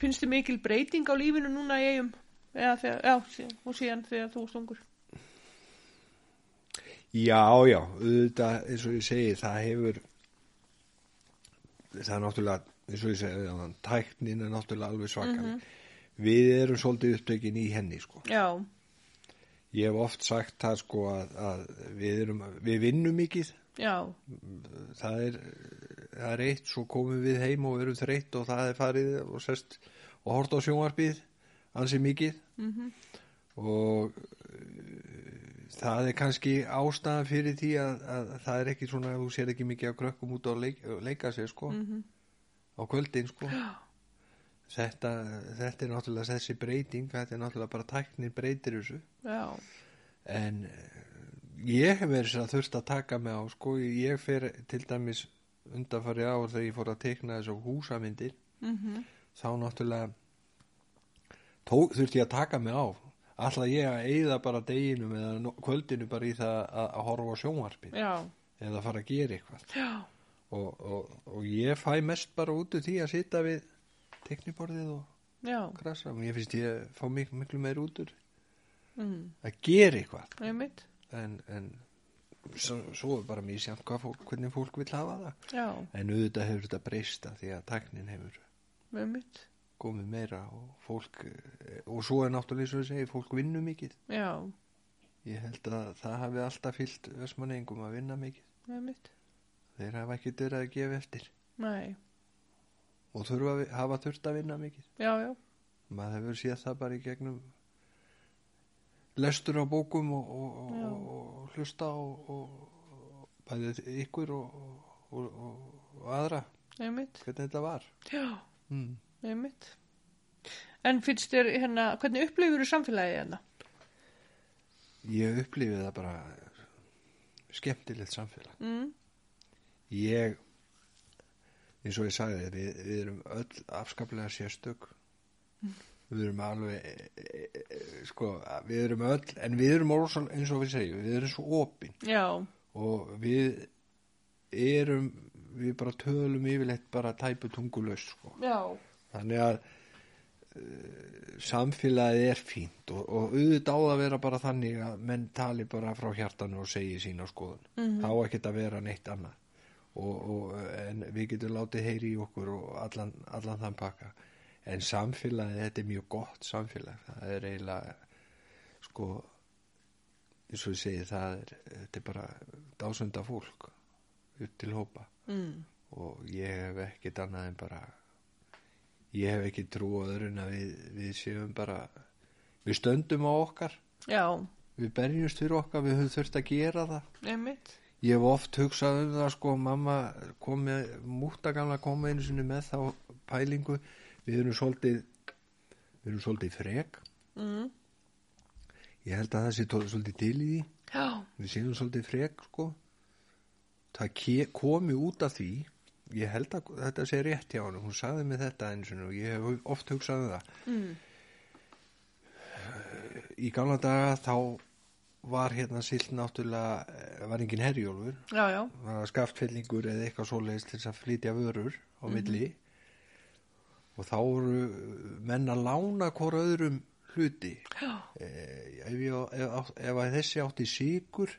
finnst þið mikil breyting á lífinu núna í eigum? Já, þegar, já, síðan, og síðan þegar þú varst ungur.
Já, já, auðvitað, eins og ég segi, það hefur, það er náttúrulega, eins og ég segi, áðan, tæknin er náttúrulega alveg svakar. Við erum svolítið upptökin í henni, sko.
Já,
Ég hef oft sagt það, sko, að, að við, erum, við vinnum mikið,
já,
það er, það er eitt, svo komum við heim og erum þreytt og það er farið og sest og hort á sjónvarpið, ansi mikið
mhm,
og eh, það er kannski ástæðan fyrir því að, að það er ekki svona að þú sér ekki mikið á krökkum út á leik, leika sér sko
mhm,
á kvöldin sko þetta, þetta er náttúrulega þessi breyting þetta er náttúrulega bara tæknir breytir þessu
já,
en eh, ég hef verið sér að þurft að taka mig á sko ég fer til dæmis undanfari ár þegar ég fór að tekna þessu húsamyndir
mhm,
þá náttúrulega tó, þurfti ég að taka mig á alltaf ég að eyða bara deginum eða no- kvöldinu bara í það að, að horfa á sjónvarpið
já,
eða fara að gera eitthvað
já,
og, og, og ég fæ mest bara út úr því að sitja við tekniborðið og
já,
krasa og ég finnst ég fá miklu, miklu meir út úr
mm,
að gera eitthvað
einmitt,
en, en svo, svo er bara mjög sjátt fólk, hvernig fólk vil hafa það
já,
en auðvitað hefur þetta breysta því að tæknin hefur
einmitt,
komið meira og fólk eh, og svo er náttúrulega svo að segja, fólk vinnur mikið
já,
ég held að það hafi alltaf fyllt versmanningum að vinna mikið
einmitt,
þeir hafa ekki dyrra að gefa eftir
nei,
og þurfa, að vi- hafa þurft að vinna mikið
já, já,
maður hefur séð það bara í gegnum lestur á bókum og, og,
Já.
og, og hlusta og, og, og bæðið ykkur og, og, og, og aðra
einmitt,
hvernig þetta var
já,
mm.
einmitt. En finnst þér hérna, hvernig upplifur þú samfélagið hérna?
ég upplifið það bara skemmtilegt samfélag
Mm,
ég eins og ég sagði við, við erum öll afskaplega sérstök við erum alveg e, e, e, sko við erum öll en við erum orðsal, eins og við segjum við erum svo opin
já,
og við erum við bara tölum yfirleitt bara tæpu tungulaust sko.
já,
þannig að uh, samfélagið er fínt og, og auðvitað á það að vera bara þannig að menn tali bara frá hjartanu og segi sína skoðun
Mhm.
þá ekkert að vera neitt annað og, og, en við getum látið heyri í okkur og allan, allan þann pakka en samfélagið, þetta er mjög gott samfélag, það er eiginlega sko eins og ég segi það er þetta er bara dásunda fólk upp til hópa
mm,
og ég hef ekkert annað en bara ég hef ekki trú á öðru en að við, við séum bara við stöndum á okkar
já,
við berjumst fyrir okkar, við höfum þurft að gera það
einmitt,
ég hef oft hugsað um það sko, mamma kom með múttagamla kom einu sinni með þá pælingu við erum svolítið við erum svolítið frek
mm,
ég held að það sé tó- svolítið til í því
já,
við séum svolítið frek sko það ke- komi út af því ég held að þetta sé rétt hjá hann hún sagði mig þetta eins og ég hef oft hugsað um það
mm,
í gamla daga þá var hérna silt náttúrulega eh, var engin herjólfur
já, já,
var skaftfellingur eða eitthvað svoleiðis til þess að flytja vörur á
Mhm.
milli og þá voru menn að lána hvora öðrum hluti
já,
Eh, ef, ég, ef, átt- ef að þessi átti
<laughs>
síkur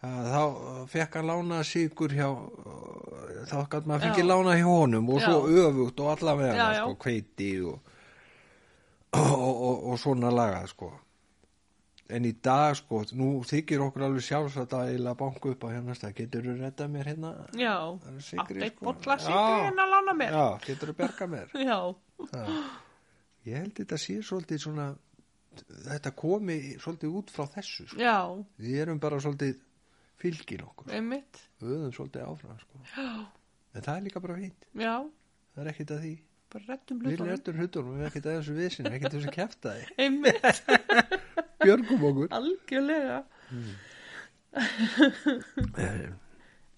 þá fekk að lána síkur hjá þá gæt maður fengið
Já.
lána hjá honum og svo
Já.
öfugt og allavega
Já, já.
sko, kveiti og, og, og, og svona laga sko. en í dag sko, nú þykir okkur alveg sjálfsagt að eila banku upp á hérna stað. geturðu redda mér hérna
já,
sykri,
átt eitt
sko.
bolla
Já.
sigri hérna að lána mér,
já, geturðu berga mér
já,
Það. ég held þetta sé svolítið svona þetta komi svolítið út frá þessu sko.
já,
við erum bara svolítið fylgin okkur
einmitt,
við höfum svolítið áfram sko.
já,
en það er líka bara fínt,
já,
það er ekkit að því
bara rettum
við
hlutunum,
lærtum hlutunum, við erum ekkit að þessu vissin ekkit að þessu keftaði,
einmitt,
björgum okkur
algjörlega.
Eh,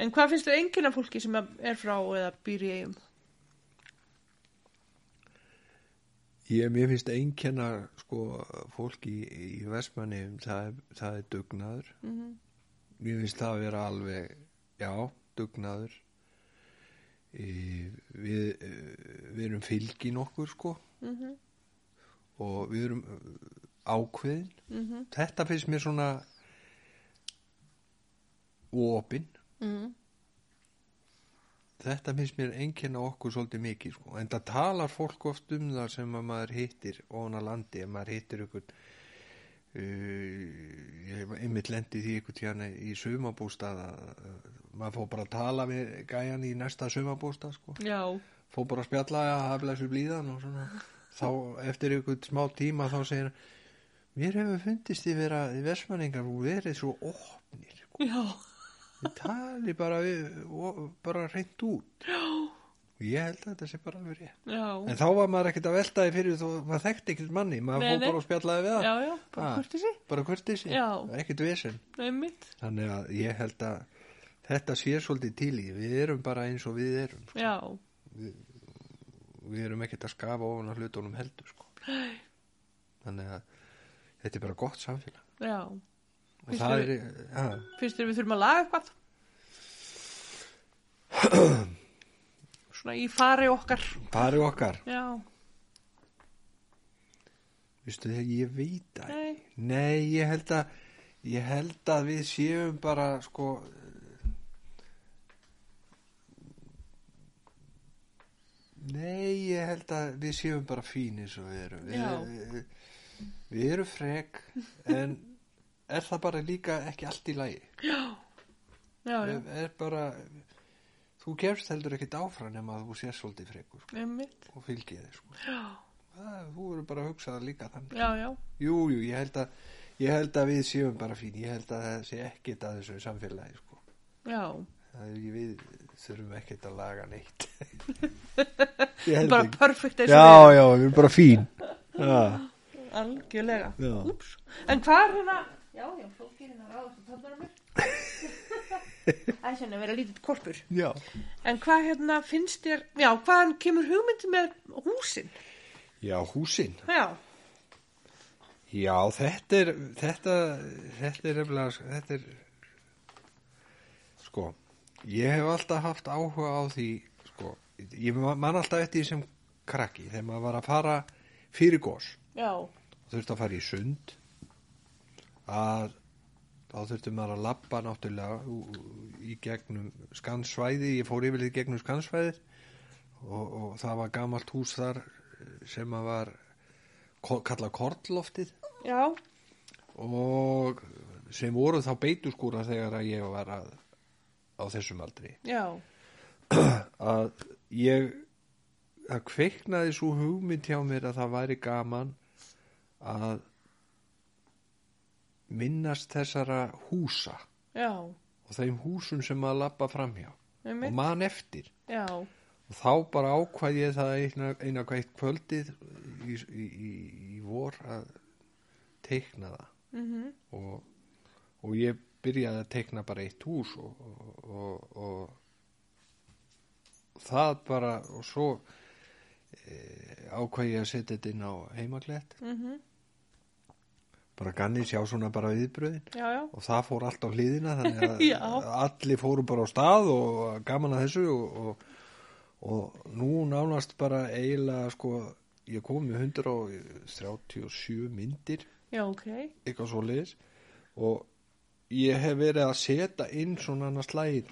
En hvað finnst þér enginn af fólki sem er frá eða býr í eigum?
ég, mér finnst einkenna sko, fólk í, í Vestmanni það, er- það er dugnaður
Mm -hmm.
Mér finnst það að vera alveg, já, dugnaður. Í, við, eh, við erum fylgin okkur, sko,
Mm -hmm.
og við erum eh, ákveðin.
Mm -hmm.
Þetta finnst mér svona opinn.
Mm.
Þetta finnst mér einkenna okkur svolítið mikið, sko. En það talar fólk oft um það sem að maður hittir óna landi, ef maður hittir ykkur, Uh, ég hef einmitt lendi því ykkur tíðan í sumabústað að að maður fór bara að tala við gæjan í næsta sumabústað sko.
Já,
fór bara að spjalla að hafa blessu blíðan og svona þá eftir ykkur smá tíma þá segir hann, mér hefur fundist því vera í versmanningar og verið svo opnir sko.
já,
við tali bara, við, og, bara reynd út og ég held að þetta sé bara alveg rétt
já,
en þá var maður ekkert að velta því fyrir þó maður þekkti ekkert manni, maður
Nei,
fór
nei.
bara að spjallaði við það Ah.
já, já, bara
Ha.
hvort þessi,
bara kurtið sér,
Já.
ekkert vesen
einmitt,
Þannig að ég held að þetta sé svolítið til í, við erum bara eins og við erum, sko.
já,
við erum ekkert að skafa ofan að hlutunum heldur, sko. Þannig að þetta er bara gott samfélag
Já,
og
Finnst
það
þér-
er, ja,
finnst þér við þurfum að laga
<clears throat>
eitthvað? Svona í fari okkar
það er okkar
Já,
Vistu þegar ég veit að
nei,
Nei, ég held að ég held að við séum bara sko eh, Nei, ég held að við séum bara fínir svo við erum við, við erum frek en er það bara líka ekki allt í lagi
já, já,
er, er bara þú gefst heldur ekkit áfram nema að þú sér svolítið frekur sko,
einmitt
og fylgið þig sko
Já,
Það- þú eru bara að hugsa það líka þannig
já, já,
Jú, jú, ég held að ég held að við séum bara fín ég held að það sé ekkit að þessu samfélagi sko.
já.
það er ekki við þurfum ekkit að laga
<laughs>
neitt ég held
Bara
ekki
perfekt eins og við
já, já, við erum bara fín já,
erum. Algjörlega
já.
Úps, en hvað er hérna Já, já, flókir hérna ráðast að tafna mér <laughs> Það er svona að vera lítið korpur
já.
En hvað hérna finnst þér Já, hvaðan kemur hugmyndi með húsin?
já húsin
Já,
já, þetta er þetta, þetta er nefnilega þetta er sko, ég hef alltaf haft áhuga á því sko, ég man alltaf eftir því sem krakki þegar maður var að fara fyrir gos
já,
þurfti að fara í sund að þá þurfti maður að labba náttúrulega ú- ú- í gegnum skansvæði ég fór yfirlið í gegnum skansvæðið og, og það var gamalt hús þar eh, sem að var ko- kallað kortloftið
já,
og sem voru þá beituskúra þegar að ég var að, á þessum aldri
já
að ég að kveiknaði svo hugmynd hjá mér að það væri gaman að minnast þessara húsa
Já,
og þeim húsum sem maður lappa framhjá og
einmitt
man eftir
Já,
og þá bara ákvað ég það eina, eina hvað eitt kvöldið í, í, í, í vor að teikna það
mhm,
og, og ég byrjaði að teikna bara eitt hús og, og, og, og það bara og svo e, ákvað ég að setja þetta inn á heimaklett
mhm
bara ganni sjá svona bara viðbröðin
Já, já,
og það fór allt á hliðina þannig
<laughs> Já.
að allir fóru bara á stað og gaman að þessu og, og, og nú nánast bara eiginlega sko ég kom með 137 myndir
já, ok
eitthvað svo liðis og ég hef verið að setja inn svona annars slæð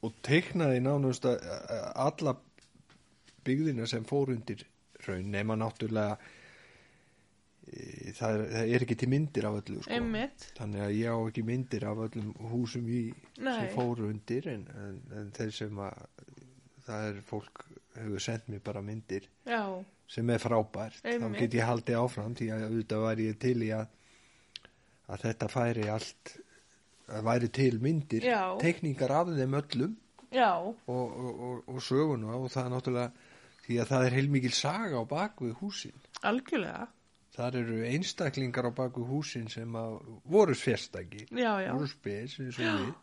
og teiknaði nánast að- að- alla byggðina sem fór undir raun nema náttúrulega e, það er, það er ekki til myndir af öllu sko.
Einmitt,
þannig að ég á ekki myndir af öllum húsum í, sem
Nei.
fóru undir en, en, en þeir sem að það er fólk hefur sendt mér bara myndir
já,
sem er frábært
Einmitt.
þá get ég haldið áfram því að auðvitað væri ég til í að, að þetta færi allt að væri til myndir
Já.
teikningar af þeim öllum
já
og, og, og, og söguna og það er náttúrulega því að það er heilmikil saga á bakvið húsin
Algjörlega,
þar eru einstaklingar á bakvið húsin sem að voru sérstaki
já, já
voru spes eins og við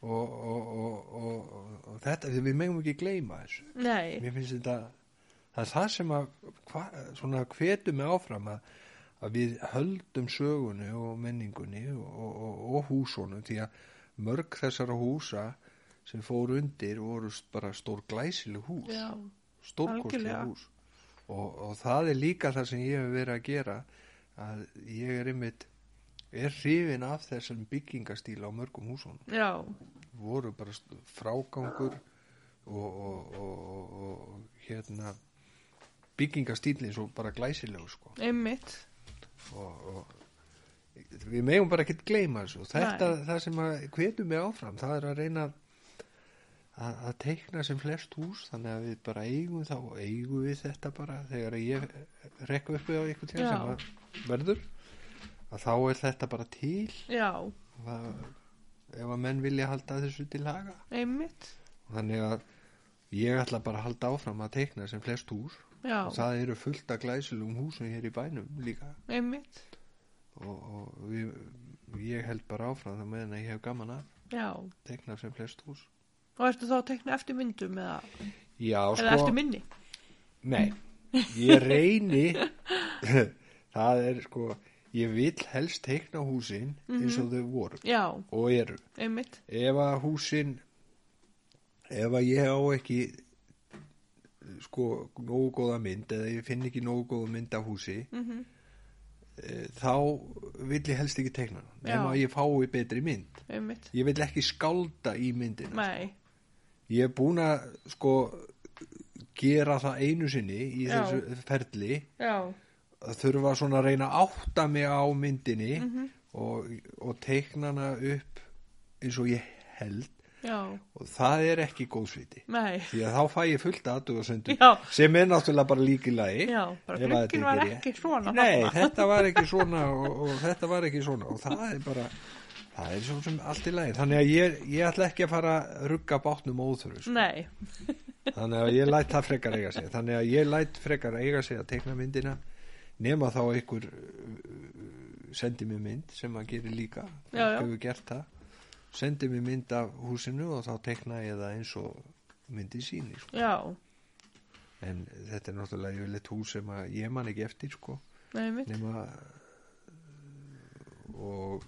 og, og, og, og, og, og þetta því við megum ekki gleyma þessu
Nei,
Mér finnst þetta það er það sem að hva, svona hvetum mig áfram að, að við höldum sögunni og menningunni og, og, og, og húsunum því að mörg þessara húsa sem fór undir voru s- bara stór glæsileg hús
já,
stórkostlega
Algjörlega.
hús og, og það er líka það sem ég hef verið að gera að ég er einmitt er hrifin af þessum byggingastíla á mörgum húsunum
já,
voru bara st- frágangur og, og, og, og, og hérna byggingastílinn svo bara glæsilegu sko.
einmitt
og, og við megum bara ekkert gleyma þessu og þetta, það sem að hvetum við áfram það er að reyna að að teikna sem flest hús þannig að við bara eigum þá og eigum við þetta bara þegar ég rekku upp við á eitthvað tíma
Já.
sem að verður að þá er þetta bara til
Já,
Og það, ef að menn vilja halda þessu til haga
einmitt
þannig að ég ætla bara að halda áfram að teikna sem flest hús
Já,
og það eru fullt af glæsilegum húsum hér í bænum líka
einmitt
og, og við, ég held bara áfram það meðan að ég hef gaman að
Já,
teikna sem flest hús
og ertu þá að tekna eftir myndum eða,
Já, sko,
eða eftir minni
nei, ég reyni <laughs> það er sko, ég vil helst teikna húsin
Mhm.
eins og þau voru
já,
og eru.
einmitt
Ef að húsin, ef að ég á ekki sko nógu góða mynd eða ég finn ekki nógu góða mynd af húsi mm
Mhm.
þá vil ég helst ekki teikna hana,
Já.
nema að ég fái betri mynd.
einmitt,
Ég vil ekki skálda í myndina.
nei,
Ég er búin að sko gera það einu sinni í
Já.
þessu ferli
já
að þurfa svona að reyna að átta mig á myndinni
Mhm.
og, og teikna hana upp eins og ég held
já,
og það er ekki góðsviti
nei
því að þá fæ ég fullt aðdugarsöndu
Já.
sem er náttúrulega bara líkilagi
Já, bara glugginn var ekki svona
Nei,
þarna.
þetta var ekki svona og, og þetta var ekki svona og það er bara það er svona sem allt í lagi þannig að ég, ég ætla ekki að fara að rugga bátnum óþurru sko.
nei,
þannig að ég læt það frekar eiga sig þannig að ég læt frekar eiga sig að tekna myndina nema þá einhver uh, sendi mér mynd sem að gerir líka
Já, já.
Fólk hefur gert það sendi mér mynd af húsinu og þá tekna ég það eins og myndi síni sko.
já,
en þetta er náttúrulega yfirleitt hús sem að ég man ekki eftir sko,
nei, einmitt
nema uh, og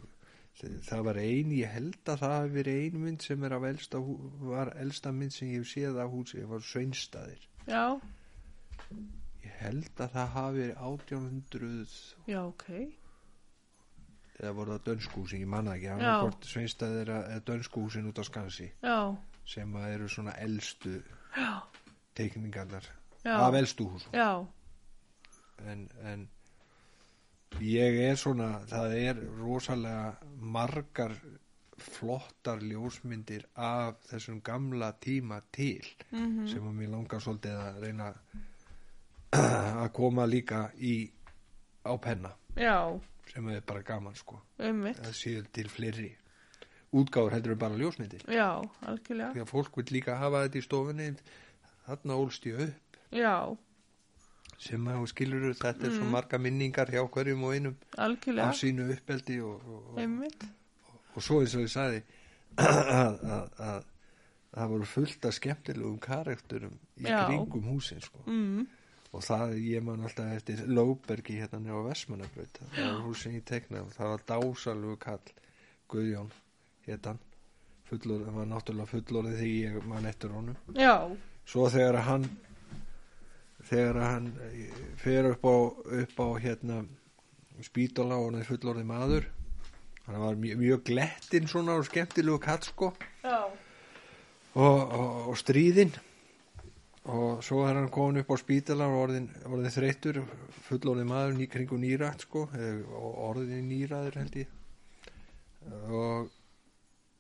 þ- það var ein, ég held að það hafi verið ein mynd sem er af elsta, hú- var elsta mynd sem ég hef séð af húsi, ég var sveinstaðir
já,
Ég held að það hafi verið 1800
já, ok
eða voru það dönskúsin, ég manna ekki
Já.
hann hvort sveinstæðir eða eða dönskúsin út á skansi
já,
sem að eru svona elstu
já,
teikningarnar
Já.
af elstu húsum
já
en, en ég er svona það er rosalega margar flottar ljósmyndir af þessum gamla tíma til
Mhm.
sem að mér langar svolítið að reyna <clears throat> að koma líka í á penna
já,
sem er bara gaman sko
einmitt
að séu til fleiri útgáður heldur en bara ljósmyndir
já, algjörlega,
því að fólk vil líka hafa þetta í stofunni þarna ólst ég upp
já,
sem að skilur þetta er
Mm.
svo marga minningar hjá hverjum og einum
algjörlega
af sínu uppeldi og, og,
einmitt,
og, og svo eins og ég sagði <clears throat> að, að, að það voru fullt af skemmtilegum karakterum í
Já.
kringum húsin sko.
mm,
og það ég man alltaf eftir Lóbergi hérna nefn á Vestmannabraut það var hús sem ég teknaði og það var dásalgu kall Guðjón hétan fullor, það var náttúrulega fullorðið þegar ég man eftir honum
já,
svo þegar að hann þegar að hann eh, fer upp á, upp á hérna spítala og hann er fullorðið maður hann var mjög, mjög glettinn svona og skemmtilegu kall sko
já
og, og, og stríðin og svo er hann komin upp á spítalar og orðin, orðin þreyttur fullónið maður ný, kringum nýrætt sko, eða- og orðin nýræður held ég og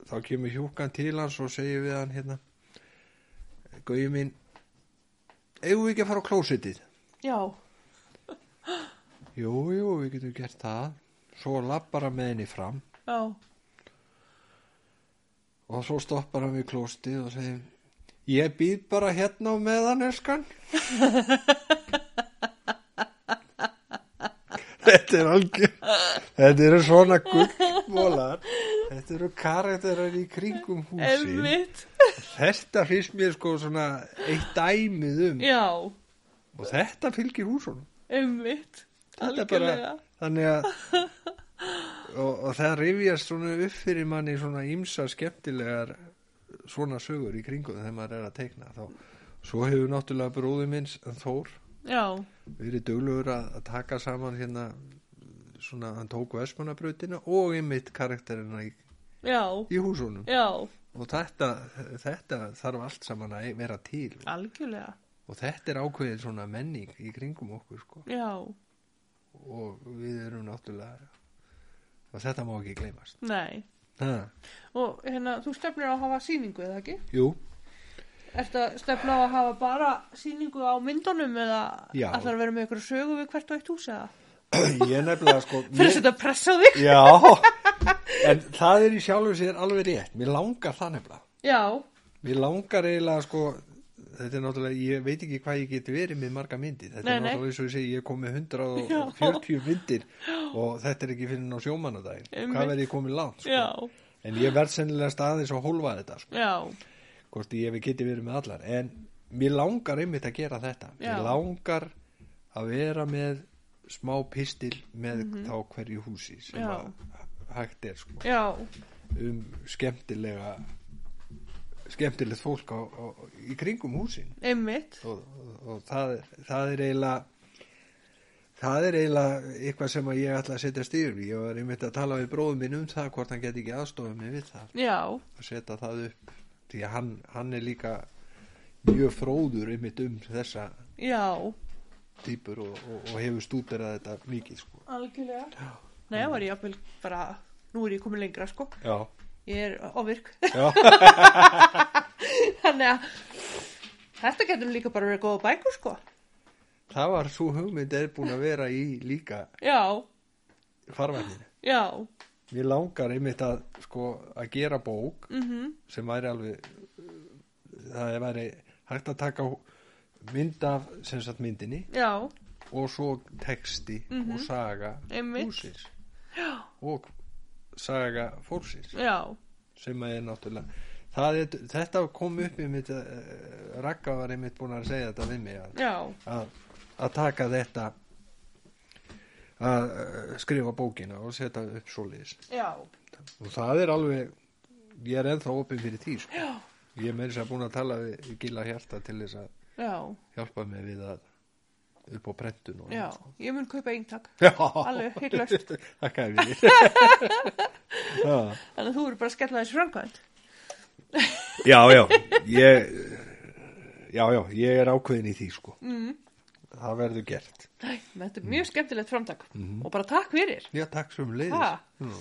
þá kemur hjúkan til hans og segir við hann hérna Gauði minn eigum við ekki að fara á klósitið
já,
jú, jú, við getum gert það svo lappar hann með henni fram
já,
og svo stoppar hann við klóstið og segir ég býð bara hérna á meðan elskan <laughs> þetta er algjör þetta eru svona gullmólar þetta eru karakterar í kringum húsin <laughs>
einmitt
þetta finnst mér sko svona eitt dæmið um
já,
og þetta fylgir húsunum
einmitt
Þetta er bara,
algjörlega,
þannig að <laughs> og, og það rifjast svona upp fyrir manni svona ímsa skemmtilegar svona sögur í kringum þegar maður er að teikna þá, svo hefur náttúrulega bróði minns Þór
já,
verið duglegur að, að taka saman hérna svona hann tók versmannabrautina og einmitt karakterina í,
já
í húsunum
já,
og þetta, þetta þarf allt saman að vera til
algjörlega
og þetta er ákveðin svona menning í kringum okkur sko
já,
og við erum náttúrulega og þetta má ekki gleymast
nei
ha.
og hérna, þú stefnir á að hafa sýningu eða ekki?
Jú,
Ertu að stefna á að hafa bara sýningu á myndunum eða
Já.
ætlar að vera með ykkur sögu við hvert og eitt hús eða?
<clears throat> ég er nefnilega sko
Fyrir að setja press á þig?
Já, en það er í sjálfu sér alveg rétt, mér langar það nefnilega
Já,
mér langar eiginlega sko þetta er náttúrulega, ég veit ekki hvað ég get verið með marga myndir, þetta
Nei,
er
nei.
náttúrulega eins og ég segi, ég kom með 140 myndir og þetta er ekki fyrir ná sjómanadaginn,
Einmitt.
hvað verð ég komið langt sko?
já,
en ég verð sennilega staðis að hólfa þetta sko.
já,
hvort ég hef geti verið með allar en mér langar einmitt að gera þetta
Já.
mér langar að vera með smá pistil með þá hverju húsi sem
Mhm. Já.
að hægt er sko,
já,
um skemmtilega skemmtilegt fólk á, á, í kringum húsin
einmitt
og, og, og það, það er eiginlega það er eiginlega eitthvað sem að ég ætla að setja styrir ég var einmitt að tala við bróðum minn um það hvort hann geti ekki aðstofa mig við það
já,
að setja það upp því að hann, hann er líka mjög fróður einmitt um þessa
já,
týpur og, og, og hefur stúderað þetta mikið sko.
algjörlega Nei, það var ég jafnvel bara, nú er ég komin lengra sko,
Já,
ég er ofvirk,
já,
<laughs> þannig að þetta getur líka bara verið góða bækur sko,
<laughs> það var svo hugmynd er búin að vera í líka
já,
farvæðinu.
já,
Mér langar einmitt að, sko, að gera bók
mhm,
sem væri alveg, það væri hægt að taka mynd af, sem sagt myndinni
já,
og svo texti og saga
Einmitt.
húsins og saga fórsins.
já,
sem að er náttúrulega það er, þetta kom upp í mitt uh, Ragga var einmitt búin að segja þetta við mig að,
já,
að, að taka þetta að eh, skrifa bókina og setja upp svoleiðis
já,
og það er alveg ég er ennþá opinn fyrir því sko. ég er meira þess að búin að tala við Gila Hjarta til þess að
já,
hjálpa mig við að upp á prentun og
já, ég mun kaupa eintak,
Já.
alveg hygglaust.
<laughs> Þakka þér fyrir <laughs> Já
þannig að þú eru bara að skella þessu framkvæmt,
Já, já, ég, já, já, ég er ákveðin í því, sko. Mm. Það verður gert.
Nei, menn, þetta er mjög skemmtilegt framtak
Mhm.
og bara takk fyrir,
Já, takk sem leiðis.
ha,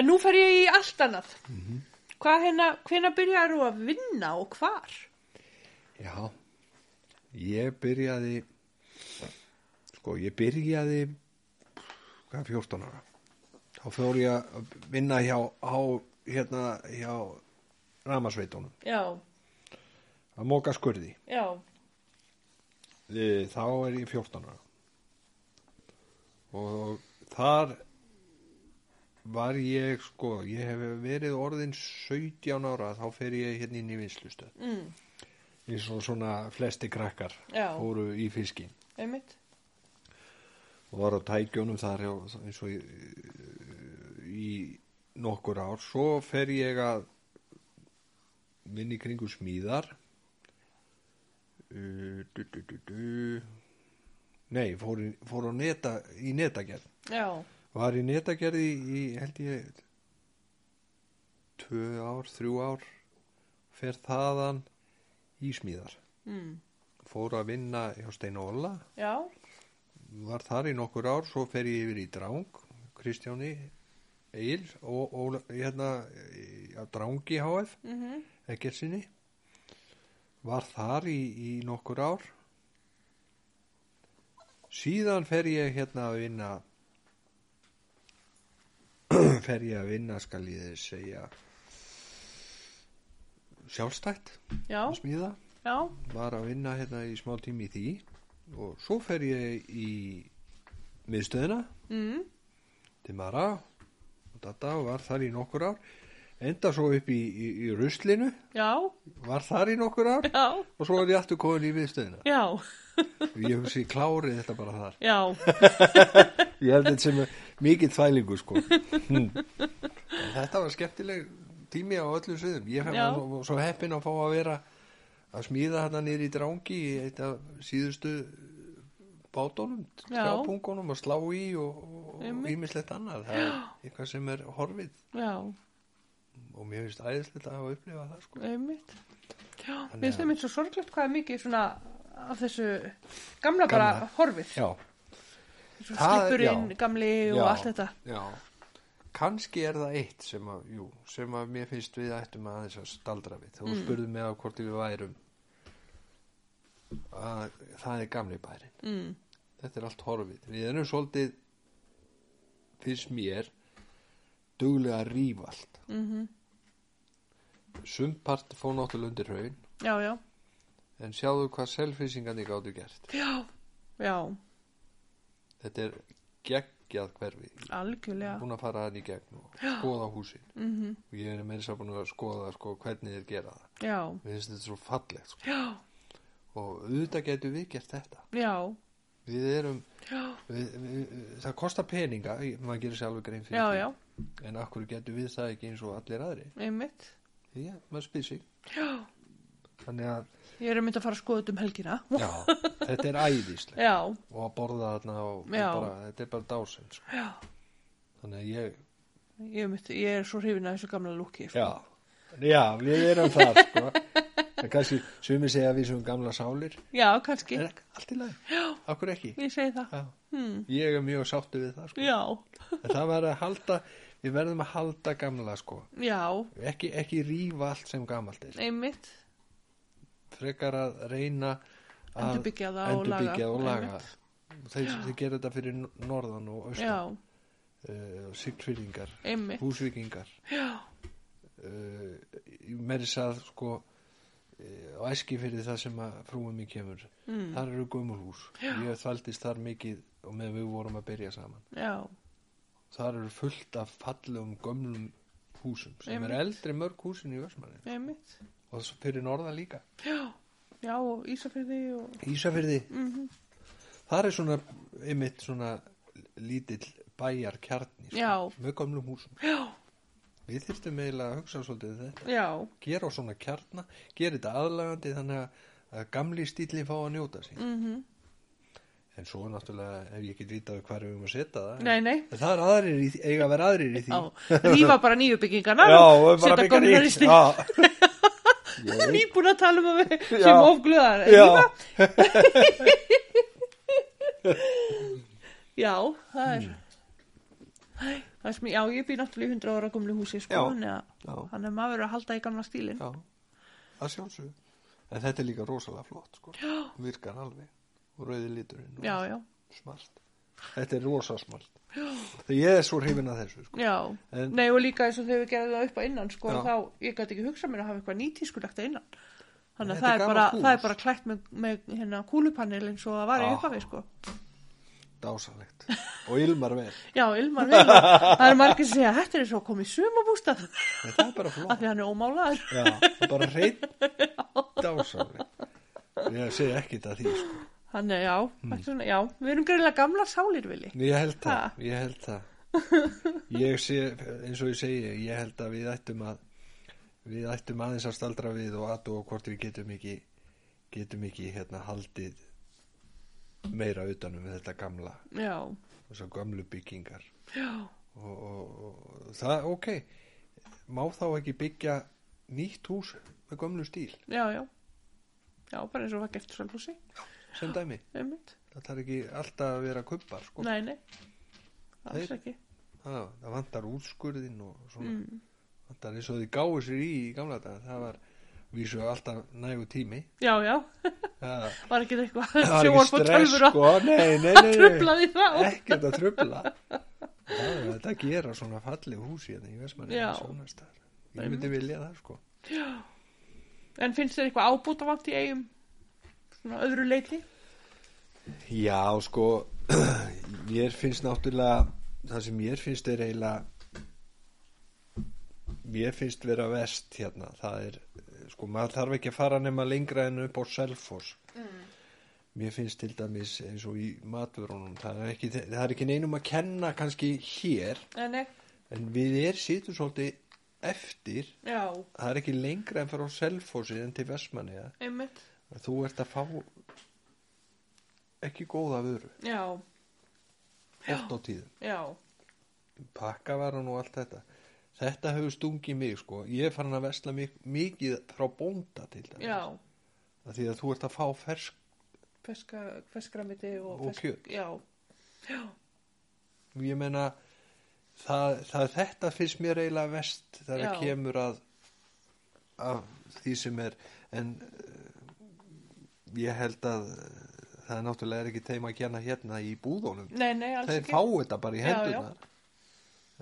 en nú fer ég í allt annað,
Mhm.
hvað hérna, hvena byrjar þú að vinna og hvar,
Já, ég byrjaði, sko, ég byrjaði, hvað, 14 ára. Þá fór ég að vinna hjá, á, hérna, hjá ramasveitunum,
já,
að móka skurði.
já,
Eh, Þá er ég 14 ára. Og þar var ég, sko, ég hef verið orðin 17 ára, þá fer ég hérna inn í vinslustöð.
mm,
Eins og svona flesti krakkar
Já.
fóru í fiskinn
einmitt,
og var á tækjónum þar hjá, eins og í, í nokkur ár. Svo fer ég að vinna í kringu smíðar. Uh, du, du, du, du. Nei, fór, í- fór á neta, í netagerð.
já,
Var í netagerði í, held ég, tvö ár, þrjú ár, fer þaðan í smíðar.
mm,
Fór að vinna hjá Stein Óla,
já,
var þar í nokkur ár, svo fer ég yfir í Drang, Kristjáni Egil og, og hérna, ja, Drangi HF,
mhm,
Eggersinni. Var þar í, í nokkur ár. Síðan fer ég hérna að vinna <clears throat> fer ég að vinna skal ég þið segja sjálfstætt
já,
að smíða
já,
var að vinna hérna í smá tími í því og svo fer ég í miðstöðina
mm,
til Mara og Dada og var þar í nokkur ár enda svo upp í, í, í ruslinu
já,
var þar í nokkur ár
já,
og svo er ég aftur komin í miðstöðina
já,
ég hef sér klárið þetta bara þar
já,
ég held þetta sem mikið þvælingu
<laughs>
sko hm. En þetta var skemmtileg tími á öllum sviðum ég hef
Já.
var svo heppin að fá að vera að smíða hérna nýri í drangi í eitt af síðustu bátunum,
Já.
skjápungunum og slá í og, og
Einmitt.
ímislegt annað það
<gasps>
er eitthvað sem er horfið
já,
og mér finnst æðislegt að hafa upplifa það sko
einmitt. Já,
Þannig
við
að-
finnum þetta svo sorglegt hvað er mikið svona af þessu gamla bara
Gamla.
horfið.
já,
Svo
það-
Skipurinn,
já.
gamli og
Já.
allt þetta.
já kannski er það eitt sem að, jú, sem að mér finnst við ættum að aðeins að staldra við þú mm. spurðum mig að hvort við værum að það er gamli bærin
Mm,
þetta er allt horfið við erum svolítið finnst mér duglega að rífa allt
mm
sumpart fór náttúrulega undir hraun
Já, já,
en sjáðu hvað selfisingandi gáttu gert
já, já,
þetta er geggjað hverfi Ég
algjörlega.
er búin að fara hann í gegn og skoða húsin
Mm
og ég er meira sér búin að skoða sko, hvernig þeir gera það
Já,
við finnst þetta svo fallegt sko.
já,
og auðvitað getum við gert þetta
já,
við erum
já,
við, við, við- það kostar peninga ég- maður gerir sér alveg grein fyrir
já,
því
já,
en akkur getur við það ekki eins og allir aðri
einmitt
því að maður spyr sig
já,
þannig að
ég er að mynda að fara að skoða þetta um helgina
já, þetta er æðislegt
já,
og að borða þarna og, og
Já.
bara, þetta er bara dásin sko.
já,
þannig að ég
ég, mitt, ég er svo hrifin af þessu gamla lúki sko.
já, já við erum það sko. en kannski sumir segja að við sem gamla sálir
já, kannski,
er ekki allt í lagi, akkur ekki
ég segi það
já.
hmm.
ég er mjög sáttu við það sko.
já,
en það verður að halda við verðum að halda gamla sko.
já,
ekki, ekki rífa allt sem gamalt er
einmitt
frekar að reyna að
Endurbyggja það og laga.
endurbyggja og laga
Einmitt.
þeir, þeir gera þetta fyrir nor- norðan og austan
já,
uh, sigtfyrringar,
einmitt
húsvíkingar
já,
uh, meiri sað sko eh, á æski fyrir það sem að frúum mín kemur
mm,
þar eru gömulhús ég þaldist þar mikið og meðan við vorum að byrja saman
já,
þar eru fullt af fallegum gömlum húsum sem
Einmitt.
er eldri mörg húsin í Vörsmanni
einmitt
og svo fyrir norðan líka
já, já, og Ísafirði og
Ísafyrði,
mm
þar er svona einmitt svona lítill bæjar kjarni
Já.
með gömlum húsum
já,
við þyrftum eiginlega að hugsa svolítið um þetta
já,
gera á svona kjarna, gera þetta aðlagandi þannig að- að gamli stíli fá að njóta sín.
mhm
En svo náttúrulega hef ég ekki vitað hvar við um að setja það.
Nei, nei.
En það er aðrir í, því- eiga að vera aðrir í því.
Já, rífa bara nýju byggingarnar
Já,
og
og bara
setja
byggja
gömlunar í
nýtt.
stíl. <laughs>
Já,
Það er nýbúin að tala um að við sem
Já.
ofgluðar.
já,
Já, það er... Æ, það er sem, já, ég býr náttúrulega í 100 ára gömlu húsi sko,
Já.
þannig að-
Já.
þannig að maður verður að halda í gamla stílinn.
já, það sjálfsög. En þetta er líka rosalega flott, sko. Já. Virkar alveg. Og rauði liturinn. og
Já,
allt.
já,
Smart. Þetta er rosa smart. Þegar ég er svo hrifin að þessu, sko.
já.
En-
Nei, og líka eins og þegar við gerðum það upp að innan, sko,
Já.
þá, ég gæti ekki hugsað mér að hafa eitthvað nýtískulegt að innan. Þannig
En
að
þetta
það
er
er,
gamalt
bara,
hús.
það er bara klætt með, með hérna kúlupanel eins og það var í
Já.
upphafi, sko.
Dásalegt. Og ilmar vel.
Já, Ilmar vel og
<laughs>
það er margir sem segja, þetta er eins og að koma í sumabústað,
En það er bara
<laughs>
flott.
af því hann er ómálaður.
Já, það er bara hreitt dásamlega. Ég segi ekki þetta því, sko.
Þannig, já,
Hmm.
mm. svona, já, við erum greiðlega gamla sálir, Vili.
Ég held
Ha?
það, ég held það. Ég sé, eins og ég segi, ég held að við ættum að, við ættum aðeins að staldra við og aðtú og hvort við getum ekki, getum ekki hérna haldið meira utanum þetta gamla,
Já,
þessar gamlu byggingar.
já,
Og, og, og það, ok, má þá ekki byggja nýtt hús með gamlu stíl,
já, já. Já, bara eins og var gert í Sölfúsi,
sem dæmi.
einmitt.
Það þarf ekki alltaf að vera kubbar, sko.
Nei, nei, alls
Þeir-
ekki.
Já, það vantar útskurðin og svona,
Mm.
vantar eins og þið gáðu sér í í gamla dag, það var vísu alltaf nægu tími
Já, já, <laughs>
það
var ekki eitthvað
það var ekki
sjónvarp og
stress
tölvur að
sko,
<laughs>
nei, nei,
að
nei,
trubla því þá.
nei ekkert að trubla það er þetta að gera svona falli hús hérna í Vestmanni
Já.
ég myndi vilja það sko
En finnst þér eitthvað ábútavant í eigum, svona öðru leiti?
já, sko <clears throat> mér finnst náttúrulega það sem mér finnst er eiginlega mér finnst vera vest hérna, það er eh, sko, maður þarf ekki að fara nema lengra en upp á Selfoss Mér finnst til dæmis eins og í matvörunum, það er ekki, það er ekki neinum að kenna kannski hér,
Nei, nei,
en við er sýtum svolítið eftir,
já,
það er ekki lengra en fyrir á selfósið en til Vestmanniða,
einmitt,
þú ert að fá ekki góða vöru,
já,
oft á tíðum,
já,
pakka var og allt þetta. Þetta hefur stungið mig sko, ég er farin að vesla mik mikið frá bónda til dæmis,
já.
Af því að þú ert að fá fersk,
Feska, feskramiti og,
Og kjöt.
Já,
ég meina, það, það þetta finnst mér eiginlega vest þegar
Já.
það kemur að af því sem er en uh, ég held að uh, það er náttúrulega er ekki þeim að gera hérna í búðunum
nei, nei, alls
þeir
ekki.
fá þetta bara í
Já,
hendunar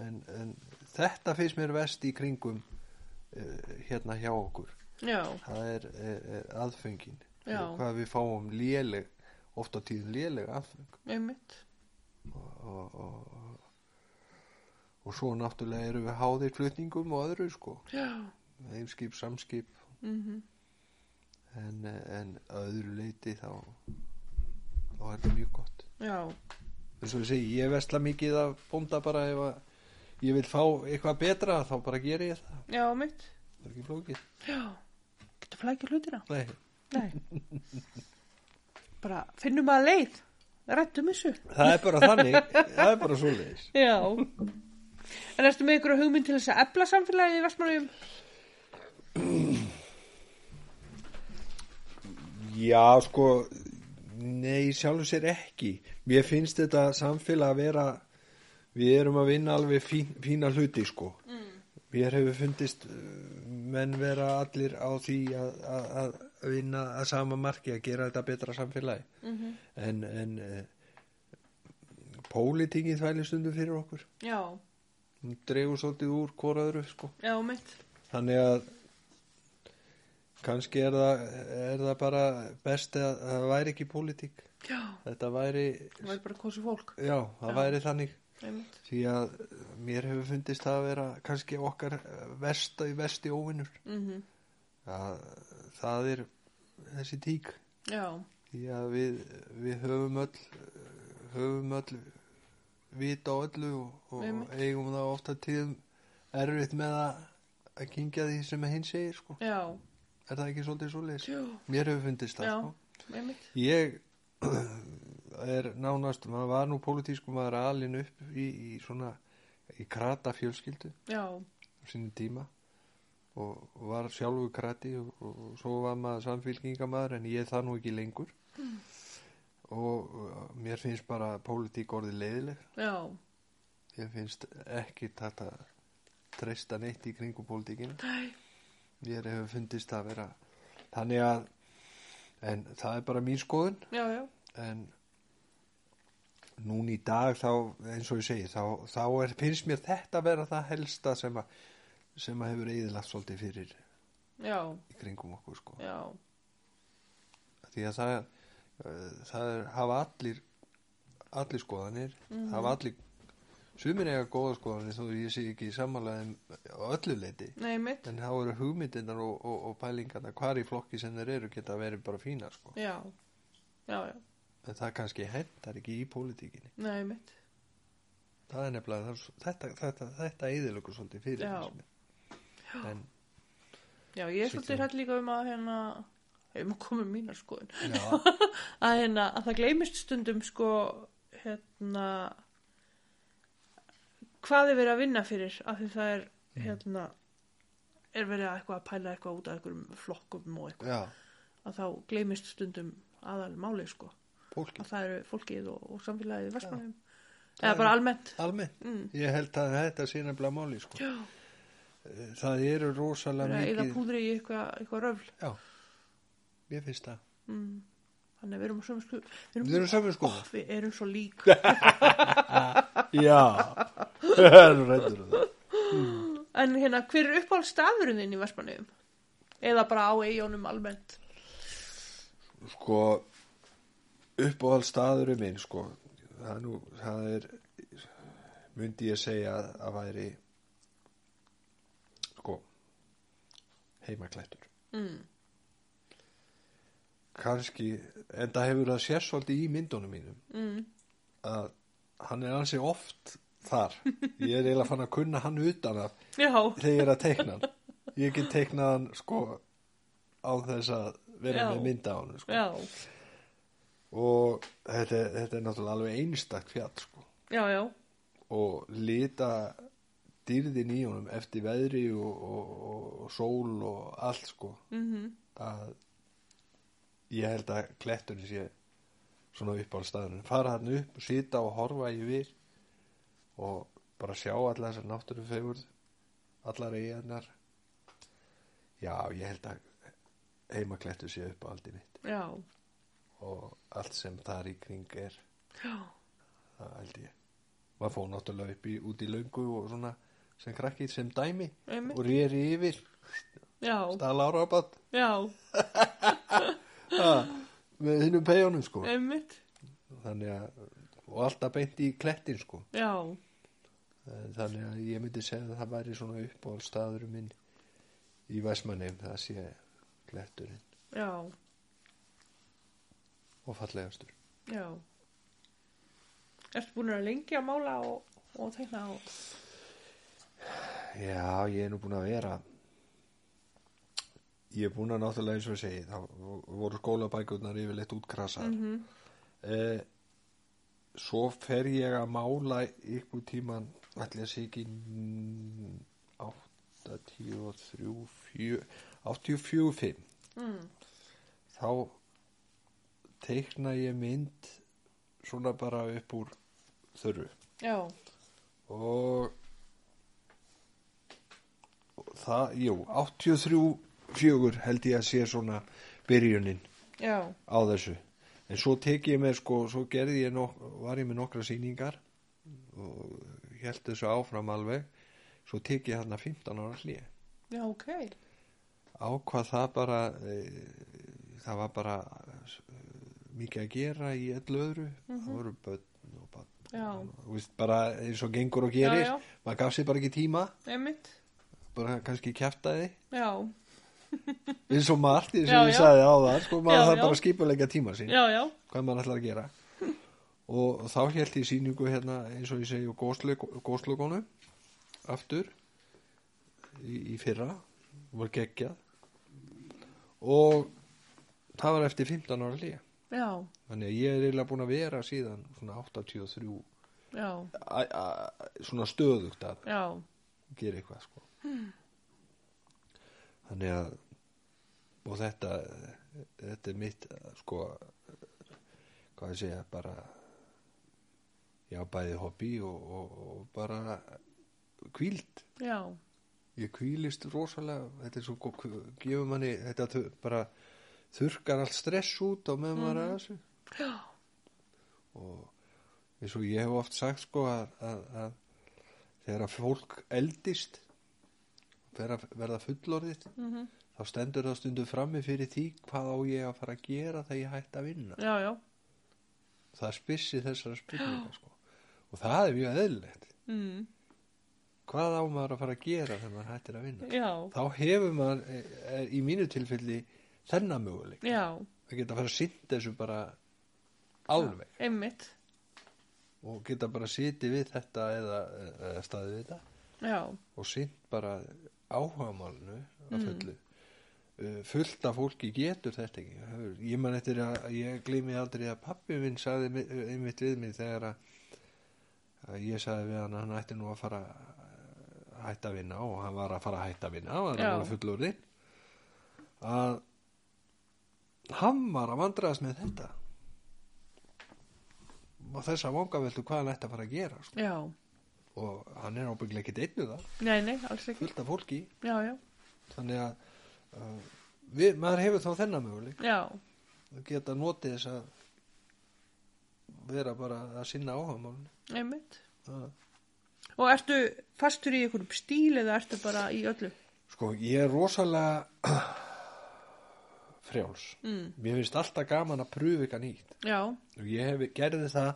En, en þetta finnst mér vest í kringum uh, hérna hjá okkur
Já,
það er, er, er aðföngin
Já.
hvað við fáum léleg oft á tíðum léleg aðföng
einmitt,
og, og, og, og svo náttúrulega erum við háðir flutningum og öðru sko
já.
heimskip, samskip
Mhm.
en, en að öðru leiti þá og þetta er mjög gott
já,
eins og ég segi, ég vesla mikið af bónda bara ef að ég vil fá eitthvað betra þá bara geri ég það
já, mitt
það er ekki flókið
já, getur flækja hlutina
Nei,
nei <laughs> bara finnum að leið rættum þessu
það er bara þannig það er bara svoleiðis
já en erstu með ykkur hugmynd til þess að ebla samfélagið í Vestmannaugum
já sko nei sjálfum sér ekki mér finnst þetta samfélag að vera við erum að vinna alveg fín, fína hluti sko mm. mér hefur fundist uh, menn vera allir á því að, að, að vinna að sama marki að gera þetta betra samfélagi -hmm. en, en eh, uh, pólitingin þvæli stundum fyrir okkur
já,
hún dregur svolítið úr hvora öðru sko
já, mitt
þannig að kannski er það, er það bara best að að það væri ekki pólitík
já,
þetta væri
það væri bara kosu fólk
já, það væri þannig
einmitt
því að mér hefur fundist það að vera kannski okkar versta í vesti óvinnur
mm
að það er þessi tík
já,
því að við, við höfum öll höfum öll vita á öllu og, og
Einmitt.
eigum það ofta tíðum erfitt með að, að kynkja því sem hinn segir sko.
já,
er það ekki svolítið svoleiðis?
já,
Mér hefur fundist það
já
sko.
einmitt
Ég <clears throat> er nánast, maður var nú pólitísku maður alin upp í, í svona í krata fjölskyldu
já,
á sinni tíma og var sjálfu krati og, og, og svo var maður samfélkingamaður en ég er það nú ekki lengur og uh, mér finnst bara pólitík orðið leiðileg
já,
ég finnst ekki þetta treysta neitt í kringu pólitíkinu
nei
mér hefur fundist það vera þannig að en það er bara mín skoðun
já, já,
en núna í dag þá eins og ég segi þá, þá er, finnst mér þetta vera það helsta sem að, sem að hefur eðilagt svolítið fyrir
já,
í kringum okkur sko
já
því að það, eh, það er, hafa allir allir skoðanir hafa allir sumir eiga góða skoðanir þó ég sé ekki samanlega á öllu leiti
nei, mitt
en þá eru hugmyndirnar og, og, og pælingarnar hvar í flokki sem þeir eru geta verið bara fína sko
já, já, já,
en það kannski hendar ekki í pólitíkinni
nei, mitt
það er nefnilega það, er- þetta, þetta, þetta eðilöku svolítið fyrir
Já.
finnst mér. en
Já, ég er
Sitja.
svolítið hrætt líka um að hérna, um að koma um mínar skoðun
já,
að hérna, að það gleymist stundum sko, hérna hvað er verið að vinna fyrir af því það er,
Mm.
hérna er verið að eitthvað að pæla eitthvað út af einhverjum flokkum og eitthvað,
já,
að þá gleymist stundum aðal máli, sko
fólki
að það eru fólkið og, og samfélagið í versmanum
Það
eða
er-
bara almennt
almennt,
mm.
ég held að þetta sé nefnilega máli sko. Eh,
Já,
það eru
verið
rosalega
að eða
mikið
púðri í eitthvað, eitthvað röfl
já, ég finnst það
mm. Þannig að við erum á sömu sko Við
við erum saman sko
Oh, við erum svo lík
<laughs> já, rættur um það
En hérna, hver er uppáhald staðurinn þinn í Vestmanniðum? Eða bara á eigunum almennt?
sko uppáhald staðurum minn sko það er nú, það er myndi ég segja að, að væri sko heimaklættur
Mm.
kannski, en það hefur það sér svolítið í myndunum mínum
Mm.
að hann er ansi oft þar, ég er eiginlega fann að kunna hann utan að
Já,
þegar ég er að teikna hann ég get teiknað hann sko á þess að vera
Já.
með mynda á hann sko.
já,
og þetta, er- þetta er náttúrulega alveg einstakt fjall sko.
já, já,
og lita dýrðin í honum eftir veðri og, og, og, og sól og allt sko
mm
að ég held að kletturinn sé svona upp á staðinu fara hann upp, sita og horfa yfir og bara sjá allar þessar náttúrufegurð allar eiginar já, ég held að heimaklettur sé upp á aldi mitt
já,
og allt sem þar í kring er
já,
það held ég maður fór náttúrulega upp í, út í löngu og svona sem krakki sem dæmi
Einmitt.
og rýri yfir
já,
stala árabat
já,
með hinnum peyjónum sko
einmitt,
þannig að og alltaf beint í klettin sko Eh,
já,
þannig að ég myndi segja að það væri svona uppáhaldstaður minn í Vestmannheim það sé kletturinn
já,
og fallegastur
Já. Ertu búin að vera lengi að mála og, og teikna á?
Já, ég er nú búin að vera ég er búin að náttúrulega eins og ég segi þá voru skólabækurnar yfirleitt útkrasar mm -hmm. svo fer ég að mála ykkur tíman ætli að sé ekki mm, 83 4, 84 5
Mm.
þá teikna ég mynd svona bara upp úr þörru
Já.
og og það, jú, 83 fjögur held ég að sé svona byrjunin
Já.
á þessu en svo tek ég með sko, svo gerði ég nok var ég með nokkra sýningar og held þessu áfram alveg svo tek ég hann 15 ára hlýja
Já, ok.
ákvað það bara e, það var bara e, mikið að gera í öllu öðru
Mhm.
það voru börn og
Já.
bara, veist, bara eins og gengur og gerir
Já, já.
maður gaf sér bara ekki tíma
Emmitt.
bara kannski kjæftaði
Já.
eins og margt eins
Já,
og ég
já.
sagði á það sko, maður
Já,
þarf
já.
bara að skipulega tíma sín
Já, já.
hvað maður ætlar að gera og þá held ég síningu hérna eins og ég segi á góslugonu aftur í, í fyrra var geggjað og það var eftir 15 ára hlýja
Já.
þannig að ég er eiginlega búin að vera síðan svona 83
Já.
a, a, svona stöðugt að
Já.
gera eitthvað sko. þannig að og þetta þetta er mitt sko hvað ég segja bara já bæði hobby og, og, og bara kvíld
Já.
ég kvílist rosalega þetta er svo gó- gefur manni þetta þu- bara þurkar allt stress út á meðan maður er að þessu
Já.
og eins og ég hef oft sagt sko að, að, að þegar að fólk eldist vera, verða fullorðið
Mhm.
þá stendur það stundum frammi fyrir því hvað á ég að fara að gera þegar ég hætti að vinna
Já, já.
það er spissi þessara spurninga sko. og það er mjög eðlilegt
Mm.
hvað á maður að fara að gera þegar maður hættir að vinna
Já.
þá hefur maður e, e, í mínu tilfelli þennan möguleik
Já.
að geta að fara að sinna þessu bara alveg
Emmitt.
og geta bara að sitja við þetta eða, eh, eða staðið við þetta
Já.
og sýnt bara áhugamálinu að fullu mm. fullt af fólki getur þetta ekki Hefur- ég man eftir að ég glými aldrei að pappi minn sagði mi- einmitt við mig þegar að, að ég sagði við hann að hann ætti nú að fara að hætta að vinna og hann var að fara að hætta að vinna hann var
Já.
að vera fullorðin að hann var að vandraðast með þetta og þess að vanga veldu hvað hann ætti að fara að gera sko.
Já.
og hann er ábyggilega ekki deyndu það
Nei, nei, alls ekki.
fullt af fólki
Já, já.
þannig að uh, við, maður hefur þá þennan möguleik
Já.
að geta notið þess að vera bara að sinna áhagamálun
Einmitt. Og ertu fastur í einhverjum stíl eða ertu bara í öllu?
sko ég er rosalega <clears throat> frjáls
Mm.
mér finnst alltaf gaman að pröfu eitthvað nýtt
Já,
og ég hef, gerði það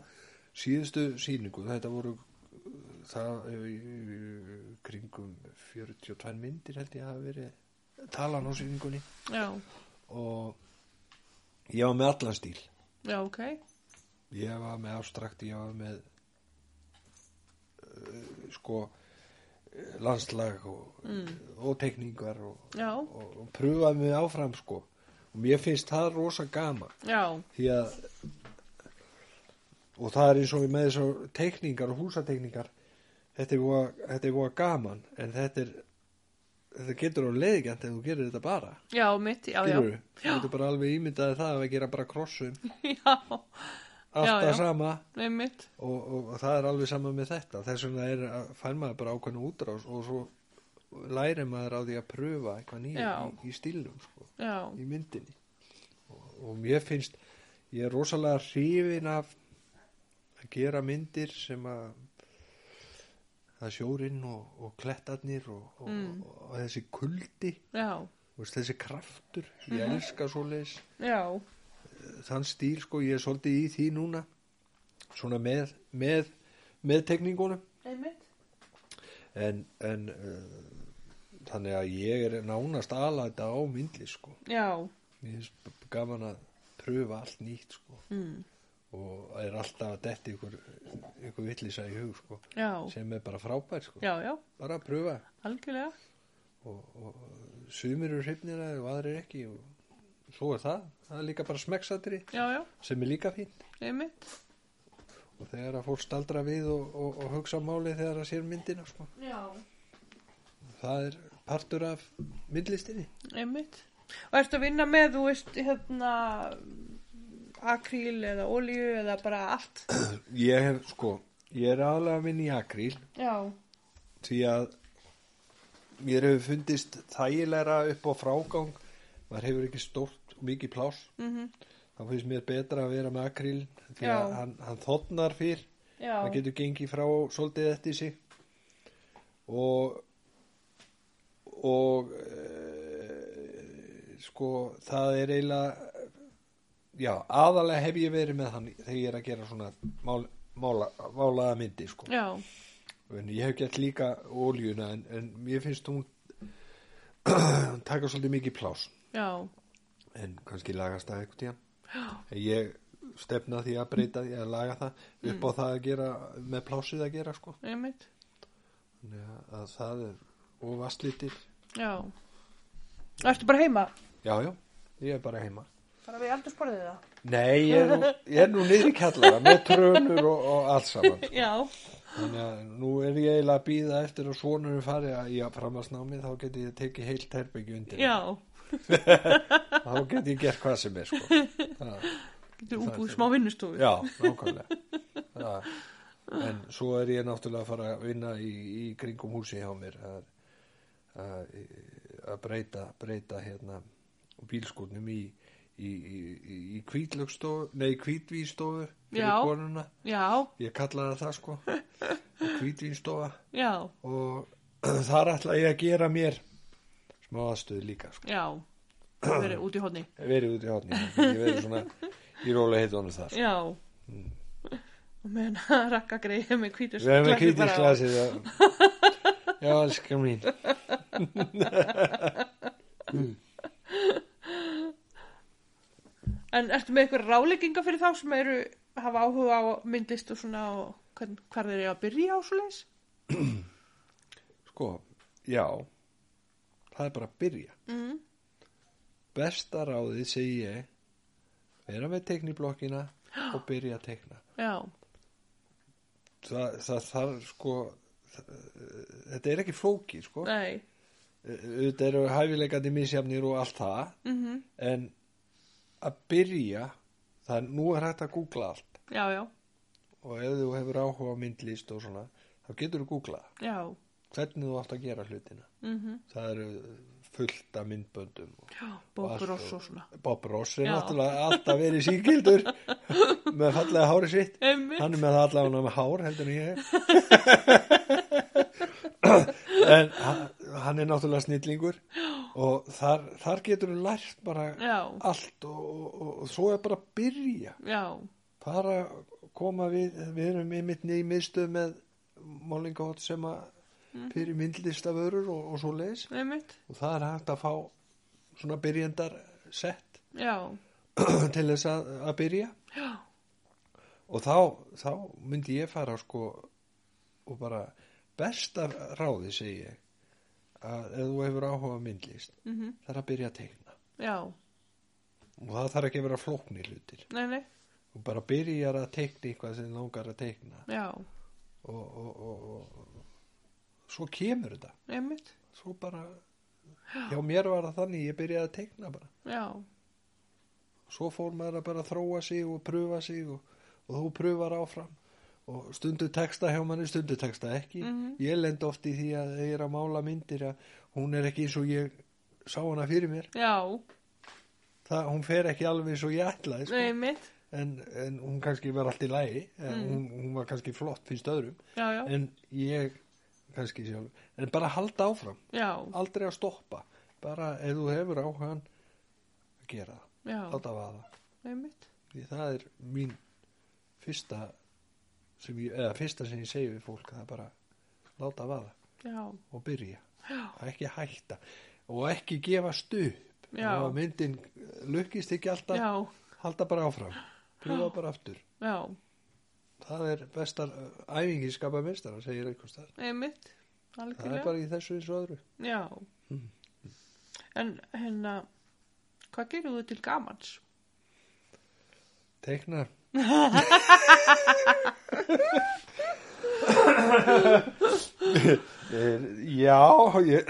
síðustu síningu þetta voru uh, það uh, kringum 42 myndir held ég að hafa verið talan á síningunni
já,
og ég var með allan stíl
já, ok.
ég var með abstrakt ég var með uh, sko eh, landslag og,
Mm.
og tekningar og,
Já,
og, og pröfaði mig áfram sko og mér finnst það rosa gaman
já,
því að og það er eins og með þessar tekningar og húsatekningar þetta er voða, þetta er voða gaman en þetta er þetta getur á leiðigjant ef þú gerir þetta bara
já, mitt, já, já.
Skilurðu? þú getur bara alveg ímyndaði það að gera bara krossum
<laughs> Já,
allt
Já, já.
að sama
einmitt,
og, og, og það er alveg sama með þetta þess vegna er að fær maður bara ákveðna útrás og svo læri maður á því að pröfa eitthvað nýja
Já.
í, í stílum sko,
já,
í myndinni og, og mér finnst ég er rosalega hrifin af að gera myndir sem að það er sjórinn og, og klettarnir og, og, og, og þessi kuldi
já,
þú veist, þessi kraftur ég elska svoleiðis
já,
þann stíl sko, ég er svolítið í því núna svona með með, með tekningunum
einmitt,
en, en uh, þannig að ég er nánast aðla þetta á myndli sko
já,
ég er gaman að pröfa allt nýtt sko
mm.
og er alltaf að detti ykkur, ykkur villisa í hug sko,
já,
sem er bara frábær sko.
já, já,
bara að pröfa
algjörlega,
og, og sumir eru hrifnir að og aðrir ekki og svo er það, það er líka bara smekksatri
já, já,
sem er líka fín
einmitt.
og þegar að fólk staldra við og, og, og hugsa um málið þegar að sér myndina sko.
Já.
það er partur af myndlistinni
Einmitt. Og ertu að vinna með, þú veist, hérna, akríl eða olíu eða bara allt?
ég hef sko, ég er aðlega minn í akríl
Já,
því að mér hefur fundist þægilegra upp á frágang maður hefur ekki stórt og mikið pláss
mm
þá finnst mér betra að vera með akríl því
Já.
að hann, hann þotnar fyrr
já,
hann getur gengið frá svolítið eftir sig og og e, sko það er eiginlega já, aðalega hef ég verið með hann þegar ég er að gera svona mál, mála, málaða myndi sko
já,
en ég hef gert líka ólíuna en, en mér finnst hún <clears throat> taka svolítið mikið plás
já,
en kannski lagast það eitthvað tíðan En ég stefna því að breyta því að laga það upp á það að gera með plásið að gera sko
einmitt,
Þannig að- að það er og vastlítir
já. Og ertu bara heima?
já já, ég er bara heima
Bara við aldrei sporðið það?
nei, ég er nú, ég er nú niður í kjallara með trönur og, og allt saman
Já,
þannig að nú er ég eiginlega að býða eftir að svonurum fari að ég framhalsnámi þá geti ég tekið heilt herbyggju undir
já,
þá get ég gert hvað sem er sko. það,
getur
Það er
útbúið
það.
smá vinnustofu.
já, nákvæmlega það, en svo er ég náttúrulega að fara að vinna í, í kringum húsi hjá mér að, að, að breyta, breyta hérna, bílskotnum í í, í, í, í kvítlögstofu nei, kvítvístofu fyrir
Já.
konuna
Já,
ég kallaði það sko kvítvístofa
já,
og <clears throat> þar ætla ég að gera mér smá aðstöðu líka sko.
já,
<clears throat>
verið út í hodni.
verið út í hátni ég verið svona í róla heitunum þar
Já. Og meðan að <laughs> rakka greið með hvítur
Mm. Við hefum
glassi bara
kritisk
á.
glasið
<laughs>
Já, elskan mín
En ertu með einhver rálegginga fyrir þá sem eru hafa áhuga á myndlist og svona og hvern, hvar þeir eru að byrja á svo leis?
Sko, já Það er bara að byrja
Mm.
Besta ráðið segi ég Vera með teikniblokkina og byrja að teikna
Já,
Það, það þarf sko það, Þetta er ekki flóki sko
nei,
Þetta eru hæfileikandi misjafnir og allt það
mm
En að byrja Það er nú er hægt að googla allt
já, já,
Og ef þú hefur áhuga á myndlist og svona Þá getur þú googlað
já,
Hvernig þú átt að gera hlutina
mm
það eru fullt af myndböndum og
já, bókur og
allt
svo svona.
Bob Ross er
Já.
náttúrulega alltaf verið síkildur með fallega hári sitt
Einmitt,
hann er með það allavega með hár heldur en ég <laughs> hef. en hann- hann er náttúrulega snillingur og þar, þar getur þú lært bara
já,
allt og, og, og svo er bara að byrja
já,
bara koma við við erum einmitt nýjum miðstöð með málingahótt sem að
Mhm.
fyrir myndlista vörur og, og svo leis
einmitt,
og það er hægt að fá svona byrjendar sett <clears throat>
já,
til þess að, að byrja
já,
og þá, þá myndi ég fara sko og bara besta ráði segi ég að ef þú hefur áhuga á myndlist
mm
það er að byrja að teikna
já,
og það þarf ekki að vera flóknir hlutir
nei, nei,
og bara byrjar að teikna eitthvað sem þig langar að teikna
já,
og, og, og, og, og svo kemur þetta
einmitt,
svo bara hjá mér var það þannig ég byrjaði að teikna bara
já,
svo fór maður að bara þróa sig og pröfa sig og, og þú pröfar áfram og stundu texta hjá manni stundu texta ekki
Mhm.
ég lend oft í því að þegar ég er að mála myndir að hún er ekki eins og ég sá hana fyrir mér
já,
það, hún fer ekki alveg eins og ég ætlaði sko.
einmitt,
en, en hún kannski var allt í lægi
Mm.
hún, hún var kannski flott finnst öðrum
já, já,
en ég kannski sjálf en bara halda áfram,
já,
aldrei að stoppa bara ef þú hefur áhugan að gera það,
já,
láta vaða
einmitt,
því það er mín fyrsta sem ég, eða fyrsta sem ég segi við fólk það er bara láta vaða
já,
og byrja og ekki hætta og ekki gefa stup
Já.
og myndin lukkist ekki alltaf
já,
halda bara áfram, pröfa bara aftur
já,
það er bestar æfingi skapa mestara, segir einhvers þar
einmitt,
það er
algjörlega.
bara Mhm. í þessu eins og öðru
Já. En hérna, hvað gerir þú til gamans?
teiknar já ég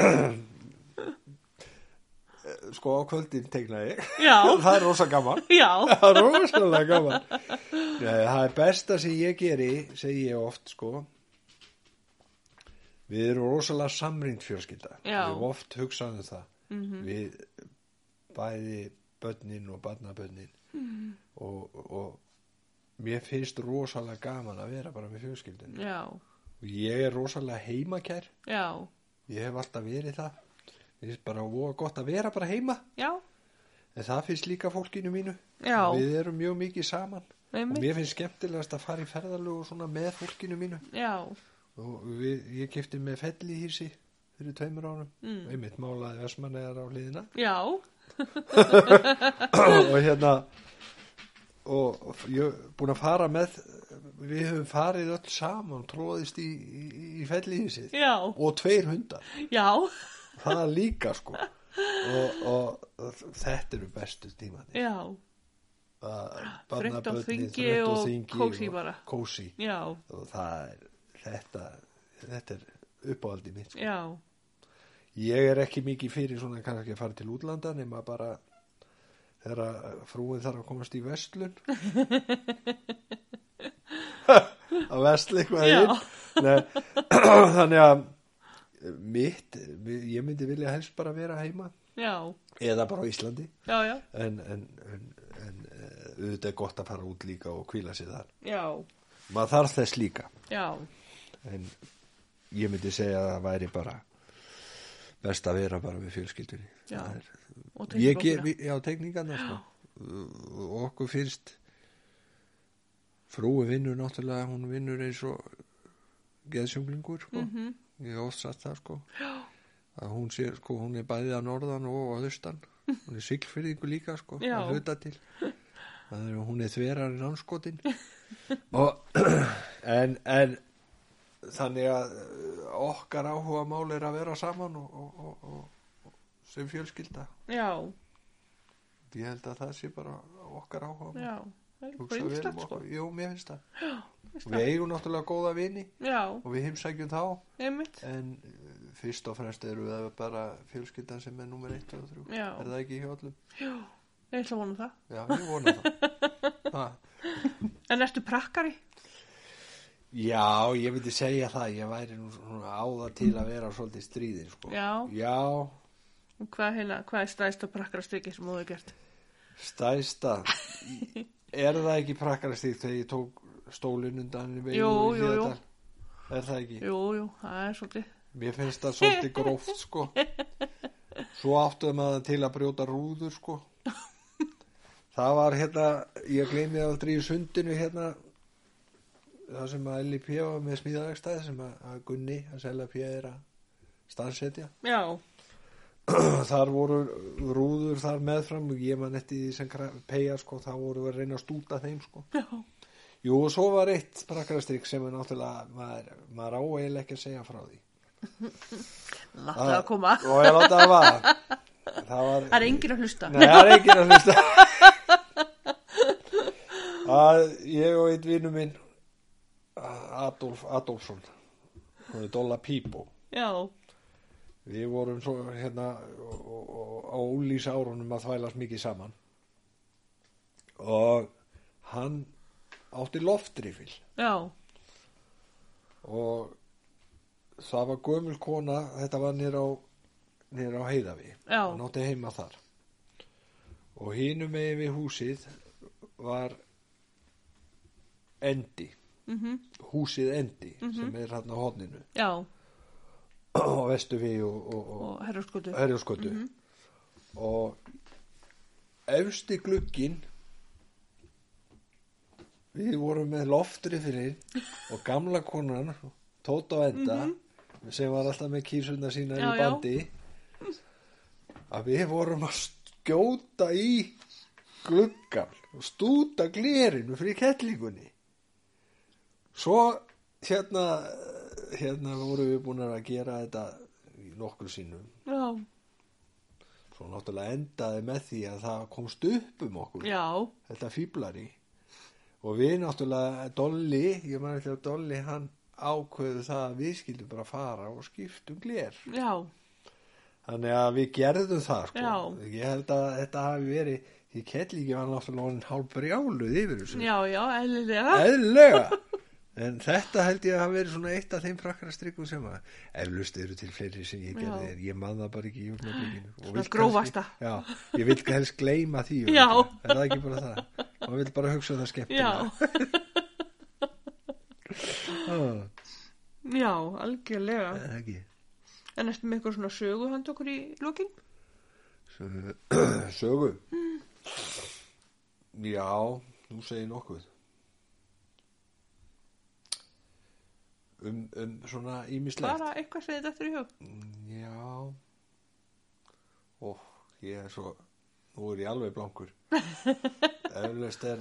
sko á kvöldin teikna ég
Já,
það er rosa gaman
já,
það er rosalega gaman Nei, það er besta sem ég geri segi ég oft sko við erum rosalega samrýnd fjörskilda við
Já.
erum oft hugsaðum það
Mhm.
við bæði börnin og barnabörnin
Mhm.
og, og mér finnst rosalega gaman að vera bara með fjörskildin
já,
og ég er rosalega heimakær
já,
ég hef alltaf verið það Mér finnst bara voða gott að vera bara heima
já,
en það finnst líka fólkinu mínu
Já.
við erum mjög mikið saman og
einmitt,
mér finnst skemmtilegast að fara í ferðalög og svona með fólkinu mínu
já,
og við, ég kipti með fellihýsi fyrir tveimur árum
Mm.
og einmitt málaði versmannegar á hliðina
já,
og hérna og ég er búin að fara með við höfum farið öll saman tróðist í, í, í fellihýsið
já,
og tveir hundar
já,
það líka sko og, og, þetta eru bestu tímani
já, Þröngt á þingi og kósí bara.
kósi
já,
og það er þetta, þetta er uppáhaldi mitt sko.
já,
ég er ekki mikið fyrir svona kannski að fara til útlanda nema bara þegar frúin þarf að komast í vestlun að vestla eitthvað
Já.
inn Nei, <clears throat> þannig að mitt, ég myndi vilja helst bara vera heima
já,
eða bara á Íslandi
já, já,
en, en, en, en eh, auðvitað er gott að fara út líka og kvíla sér þar
já,
maður þarf þess líka
já,
en ég myndi segja að það væri bara best að vera bara með fjölskyldunni
Já.
Það er,
og
ég
teiknibókina.
ger, já, tekningarna sko. og okkur finnst frúi vinnur náttúrulega, hún vinnur eins og geðsjunglingur sko.
Mhm.
-hmm. ég hef oft satt það sko. að hún sé, sko, hún er bæðið að norðan og að
<laughs>
austan, hún er siglfyrðingu líka sko,
Já.
að hluta
<laughs>
til það er, hún er þverar í námskotin og <clears throat> en, en þannig að uh, okkar áhuga mál er að vera saman og, og, og, og, og sem fjölskylda
já,
ég held að það sé bara okkar áhuga mál
já, það er
Hugsa
bara
vel um
yndislegt sko,
okkur. Jú, mér finnst það Og Við eigum náttúrulega góða vini
já,
og við heimsækjum þá
einmitt,
en uh, fyrst og fremst eru það bara fjölskyldan sem er nummer 1 og 3
Já.
er það ekki hjá öllum?
ég ætla að vona það.
Já, ég vona það
<laughs>
ha.
En ertu prakkari?
Já, ég myndi segja það ég væri nú svona áða til að vera svolítið stríðin sko.
Já.
Já,
Og Hvað, heila, hvað er stæðsta prakkarastykki sem þú hefur gert?
Stæsta Er það ekki prakkarastík þegar ég tók stólinn undan henni
Jú, jú, jú.
Er það ekki?
Jú, jú, það er svolítið,
Mér finnst það svolítið gróft sko Svo áttuðum að það til að brjóta rúður sko Það var hérna Ég gleymi það aldrei í sundinu hérna Það sem að LIP var með smíðavegstæð sem að að Gunni að selja er að stansetja
já,
<clears throat> þar voru rúður þar meðfram og ég man eftir því sem kra- peyja sko, þá voru við að reyna að stúta þeim sko.
já,
Jú, og svo var eitt prakkarastrik sem er náttúrulega maður, maður á eiginlega ekki að segja frá því
láttu að koma.
Og ég láta það var Það var
Það er enginn að hlusta.
Nei, það er enginn að
<laughs>
hlusta að Ég og einn vinnu minn Adolf Adolfsson Hún er Dolla Pípo
Já,
Við vorum svo hérna og- og- á ólýs árunum að þvælast mikið saman og hann átti loftrifil
já,
og það var gömul kona, þetta var nýr á, nýr á heiðavi
Já.
hann átti heima þar og hínum megin við húsið var endi
mhm,
húsið endi sem er hann á hodninu
já,
<clears throat> á vestu við og, og, og,
og herrarskotu.
Herjóskötu
Mhm.
og efsti glukkin við vorum með loftri fyrir og gamla konan Tóta á enda sem var alltaf með kísuna sína
Mhm. Já, já.
í bandi að við vorum að skjóta í gluggan og stúta glerinu fyrir kettlingunni svo hérna hérna vorum við búin að gera þetta í nokkur sinnum
já,
svo náttúrulega endaði með því að það komst upp um okkur
já,
þetta fýblari og við náttúrulega Dolly, ég man eftir að Dolly hann ákveðu það að við skildum bara fara og skiptum gler
já,
þannig að við gerðum það sko.
Já.
ég held að þetta hafi verið því kettlingi var náttúrulega hann hálf brjáluð yfir þessu
já, já, eðlilega.
eðlilega en þetta held ég að hafa verið svona eitt af þeim frakkarastrykkum sem að eflust eru til fleiri sem ég gerði
Já.
en ég man það bara ekki í jólnabygginu
Svona grófasta.
já, ég vil helst gleyma því
Já.
örugglega. er það ekki bara það maður vil bara hugsa það
Já,
skemmtilega Ah,
já, algjörlega.
er það ekki
En ertu með eitthvað svona sögu hann okkur í lokin?
Sögu- sögu já, nú segir nokkuð um, um svona ímislegt
Bara eitthvað sem þetta eftir í hug.
Já Ó, ég er svo Nú er ég alveg blankur Eflaust er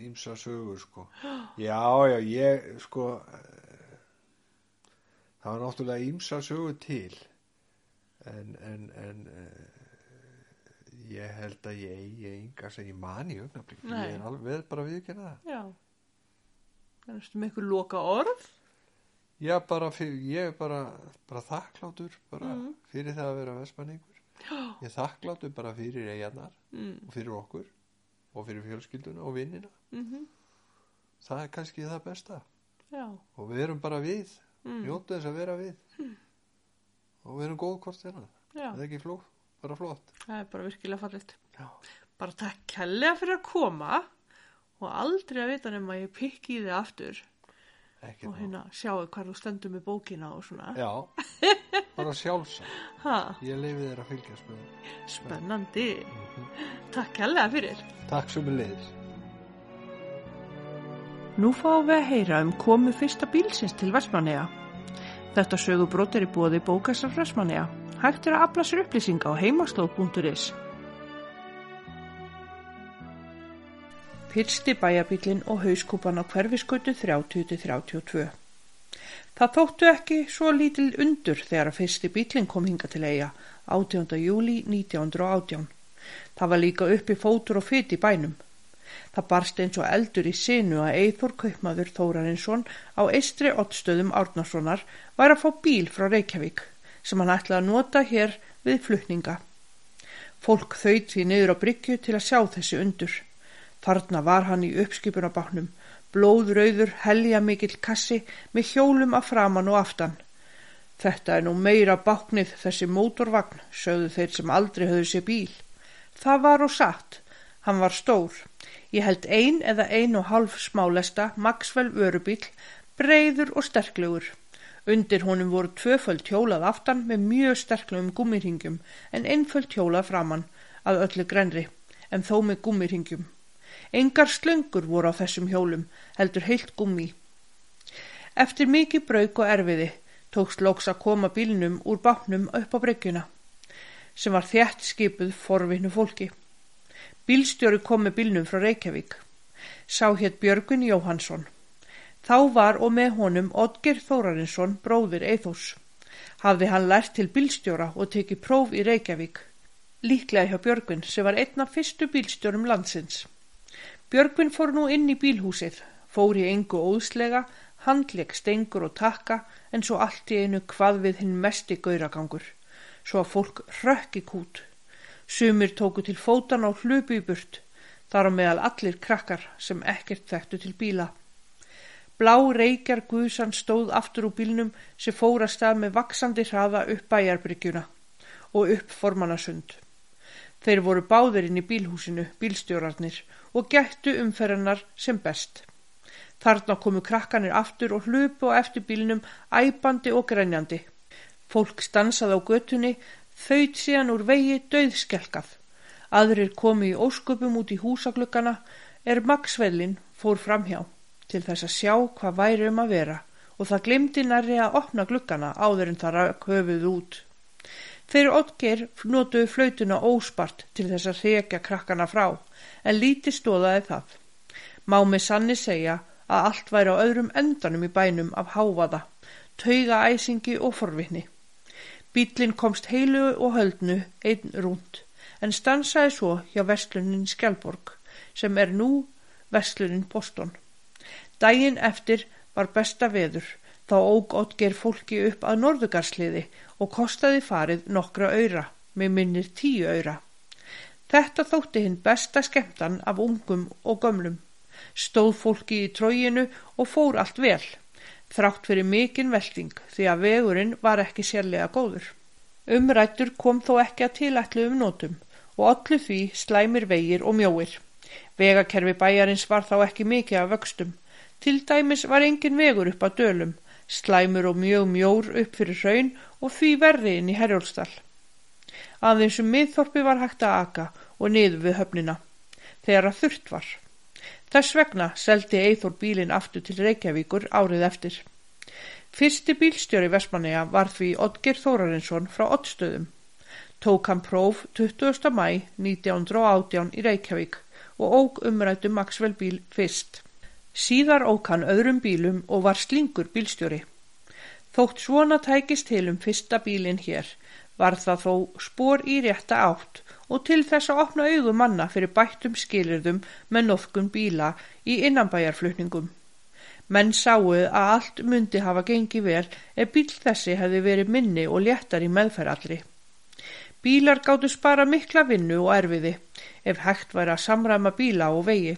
ímsa sögur sko Já, já, ég sko eh, Það var náttúrulega ímsa sögur til En, en, en eh, Ég held að ég eigi enga sem ég mani augnablik
Nei.
Ég er alveg bara viðkjörna það
Já. En ertu með eitthvað loka orð?
Já, bara fyrir, ég er bara, bara þakklátur bara
Mm.
fyrir það að vera vestmanningur. Ég er þakklátur bara fyrir eigarnar
Mm.
og fyrir okkur og fyrir fjölskylduna og vinnina.
Mm
Það er kannski það besta
Já.
og við erum bara við,
Mm.
njóta þess að vera við og við erum góð hvort hérna.
Já,
Það er ekki flók, bara flott.
það er bara virkilega fallegt.
Já.
Bara takk kærlega fyrir að koma og aldrei að vita nema að ég pikki í þig aftur
Ekki
og
nóg.
hérna sjáu hvar þú stendur með bókina og svona.
Já,
<laughs>
bara sjálfsagt.
Ha,
Ég leifi þér að fylgjast með. þeim.
spennandi.
Mhm.
Takk kærlega fyrir.
Takk sem er leiðis.
Nú fáum við að heyra um komu fyrsta bílsins til Vestmanneja. Þetta sögubrót er í bóði bókastar Vestmanneja. Hægt er að afla sér upplýsinga á heimaslóð.is. Pyrsti bæjarbílinn og hauskúpan á hverfiskautu 30-32. Það þóttu ekki svo lítil undur þegar að fyrsti bílinn kom hinga til eiga 18. júli 1918. Það var líka uppi fótur og fyt í bænum. Það barst eins og eldur í sinu að Eithor Kaupmaður Þórarinsson á eistri ottstöðum Árnarssonar var að fá bíl frá Reykjavík sem hann ætlaði að nota hér við flutninga. Fólk þaut því niður á bryggju til að sjá þessi undur. Þarna var hann í uppskipunabáknum, blóðrauður, helja mikill kassi með hjólum að framan og aftan. Þetta er nú meira báknið þessi mótorvagn, sögðu þeir sem aldrei höfðu sér bíl. Það var og satt. Hann var stór. Ég held ein eða ein og hálf smálesta, Maxwell vörubíl, breyður og sterklegur. Undir honum voru tvöföld hjólað aftan með mjög sterklegum gummiringjum en einföld hjólað framann að öllu grenri, en þó með gummiringjum. Engar slöngur voru á þessum hjólum, heldur heilt gummi. Eftir mikið brauk og erfiði tókst loks að koma bílnum úr bátnum upp á bryggjuna sem var þjætt skipuð forvinnu fólki. Bílstjóri kom með bílnum frá Reykjavík. Sá hétt Björgun Jóhansson. Þá var og með honum Oddger Þórarinsson bróðir Eithors. Hafði hann lært til bílstjóra og tekið próf í Reykjavík. Líklega hjá Björgun sem var einn af fyrstu bílstjórum landsins. Björgvin fór nú inn í bílhúsið, fór í engu óðslega, handleg stengur og takka, en svo allt í einu hvað við hinn mesti gauragangur, svo að fólk rökk í kút. Sumir tóku til fótan á hlupu í burt, þar á meðal allir krakkar sem ekkert þekktu til bíla. Blá reykjar guðsan stóð aftur úr bílnum sem fór að stað með vaksandi hraða upp bæjarbyrgjuna og upp formannasund. Þeir voru báðir inn í bílhúsinu, bílstjórarnir, og gættu umferðarnar sem best. Þarna komu krakkanir aftur og hlupu á eftir bílnum æpandi og grænjandi. Fólk stansaði á götunni, þaut síðan úr vegi döðskelkað. Aðrir komu í ósköpum út í húsagluggana er maksvellin fór framhjá til þess að sjá hvað væri um að vera og það glimti nærri að opna gluggana áður en það rauk höfuð út. Þeir Oddgeir notuðu flautuna óspart til þess að hrekja krakkana frá, en lítið stóðaði það. Má með sanni segja að allt væri á öðrum endanum í bænum af hávaða, tauga æsingi og forvitni. Bíllinn komst heilu og höldnu einn rúnd, en stansaði svo hjá vestlunin Skjálborg, sem er nú vestlunin Boston. Dægin eftir var besta veður, þá óg Oddgeir fólki upp að norðugarsliði og kostaði farið nokkra auðra, með minnir tíu auðra. Þetta þótti hinn besta skemmtan af ungum og gömlum. Stóð fólki í tróginu og fór allt vel, þrátt fyrir mikinn velding því að vegurinn var ekki sérlega góður. Umrættur kom þó ekki að tilætlu um nótum og allu því slæmir vegir og mjóir. Vegakerfi bæjarins var þá ekki mikið af vöxtum. Til dæmis var engin vegur upp að dölum, slæmur og mjög mjór upp fyrir raun og því verri inn í herjólstall. Aðeins um miðþorpi var hægt að aka og niður við höfnina, þegar að þurft var. Þess vegna seldi Eithor bílinn aftur til Reykjavíkur árið eftir. Fyrsti bílstjóri Vestmanneja var því Oddgeir Þórarinsson frá Oddstöðum. Tók hann próf 20. mæ 1918 í Reykjavík og óg umrættu Maxwell bíl fyrst. Síðar ók hann öðrum bílum og var slingur bílstjóri. Þótt svona tækist til um fyrsta bílinn hér var það þó spór í rétta átt og til þess að opna augum manna fyrir bættum skilirðum með nofkun bíla í innanbæjarflutningum. Menn sáu að allt myndi hafa gengið vel ef bíl þessi hefði verið minni og léttar í meðferðallri. Bílar gáttu spara mikla vinnu og erfiði ef hægt væri að samræma bíla og vegi.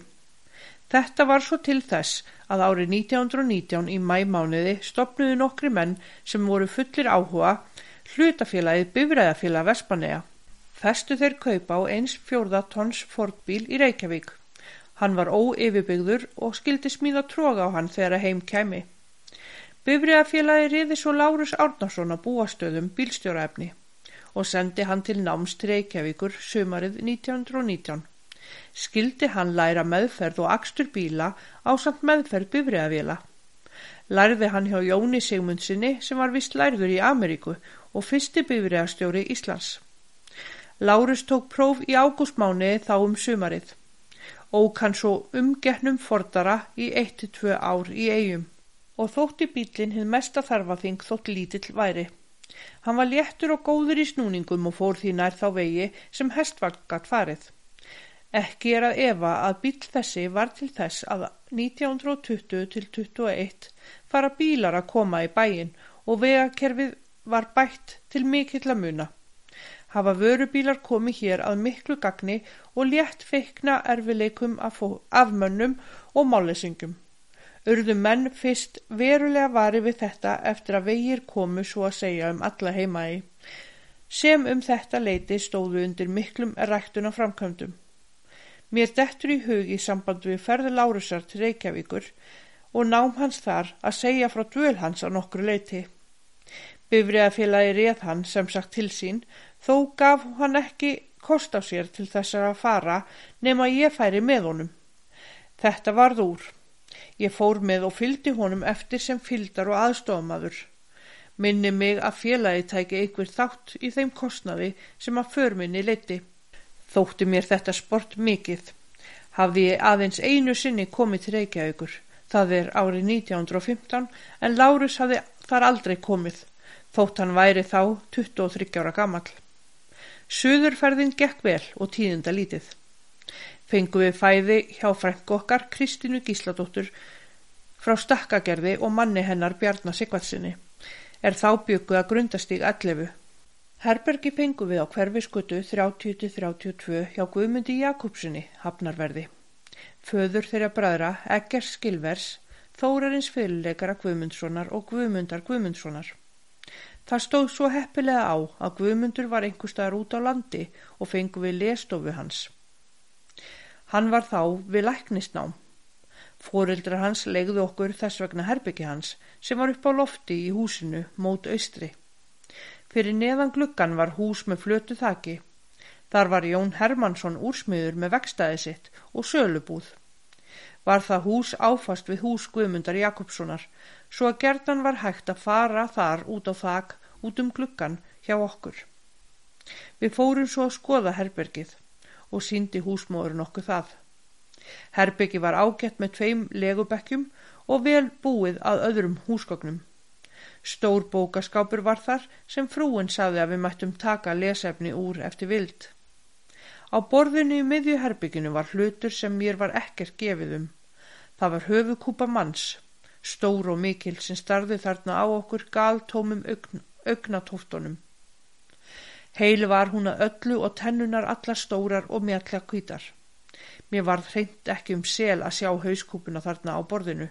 Þetta var svo til þess að árið 1919 í mæmániði stopnuðu nokkri menn sem voru fullir áhuga hlutafélagið Bifræðafélag Vespanea. Festu þeir kaupa á eins fjórða tons fordbíl í Reykjavík. Hann var óyfirbyggður og skildi smíða tróga á hann þegar að heim kemi. Bifræðafélagi riði svo Lárus Árnarsson að búastöðum bílstjóraefni og sendi hann til náms til Reykjavíkur sumarið 1919 skildi hann læra meðferð og akstur bíla á samt meðferð bifræðavila. Lærði hann hjá Jóni Sigmundsinni sem var vist lærður í Ameríku og fyrsti bifræðastjóri Íslands. Lárus tók próf í ágústmáni þá um sumarið og kann svo umgetnum fordara í 1-2 ár í eigum og þótti bílinn hinn mesta þarfaþing þótt lítill væri. Hann var léttur og góður í snúningum og fór því nær þá vegi sem hestvagat farið. Ekki er að efa að bíl þessi var til þess að 1920-21 fara bílar að koma í bæin og vegakerfið var bætt til mikill að muna. Hafa vörubílar komið hér að miklu gagni og létt feikna erfileikum af afmönnum og mállesingum. Urðu menn fyrst verulega vari við þetta eftir að vegir komu svo að segja um alla heimaði, sem um þetta leiti stóðu undir miklum ræktuna framkvæmdum. Mér dettur í hug í samband við ferði Lárusar til Reykjavíkur og nám hans þar að segja frá dvöl hans á nokkru leiti. Bifriðafélagi reð hann sem sagt til sín, þó gaf hann ekki kost á sér til þess að fara nema ég færi með honum. Þetta varð úr. Ég fór með og fylgdi honum eftir sem fyldar og aðstofumadur. Minni mig að félagi tæki einhver þátt í þeim kostnaði sem að förminni leiti. Þótti mér þetta sport mikið. Hafði ég aðeins einu sinni komið til Reykjavíkur. Það er árið 1915 en Lárus hafði þar aldrei komið. Þótt hann væri þá 23 ára gammal. Suðurferðin gekk vel og tíðinda lítið. Fengu við fæði hjá frængu okkar Kristínu Gísladóttur frá stakkagerði og manni hennar Bjarnar Sigvartsinni. Er þá bygguð að grundastík 11. Herbergi pengu við á hverfiskutu 30-32 hjá Guðmundi Jakobssoni hafnarverði. Föður þeirra bræðra Egger Skilvers, Þórarins fyrirleikara Guðmundssonar og Guðmundar Guðmundssonar. Það stóð svo heppilega á að Guðmundur var einhverstaðar út á landi og fengu við lestofu hans. Hann var þá við læknisnám. Fóreldra hans legði okkur þess vegna herbergi hans sem var upp á lofti í húsinu mót austri. Fyrir neðan gluggan var hús með flötu þaki. Þar var Jón Hermansson úrsmiður með vekstaði sitt og sölubúð. Var það hús áfast við hús Guðmundar Jakobssonar, svo að gerðan var hægt að fara þar út á þak, út um gluggan, hjá okkur. Við fórum svo að skoða herbergið og síndi húsmóðurinn okkur það. Herbergi var ágætt með tveim legubekkjum og vel búið að öðrum húsgögnum. Stór bókaskápur var þar sem frúin sagði að við mættum taka lesefni úr eftir vild. Á borðinu í miðju herbygginu var hlutur sem mér var ekkert gefið um. Það var höfukúpa manns, stór og mikil sem starði þarna á okkur galtómum augn, augnatóftunum. Heil var hún að öllu og tennunar allar stórar og mjalla kvítar. Mér varð hreint ekki um sel að sjá hauskúpuna þarna á borðinu.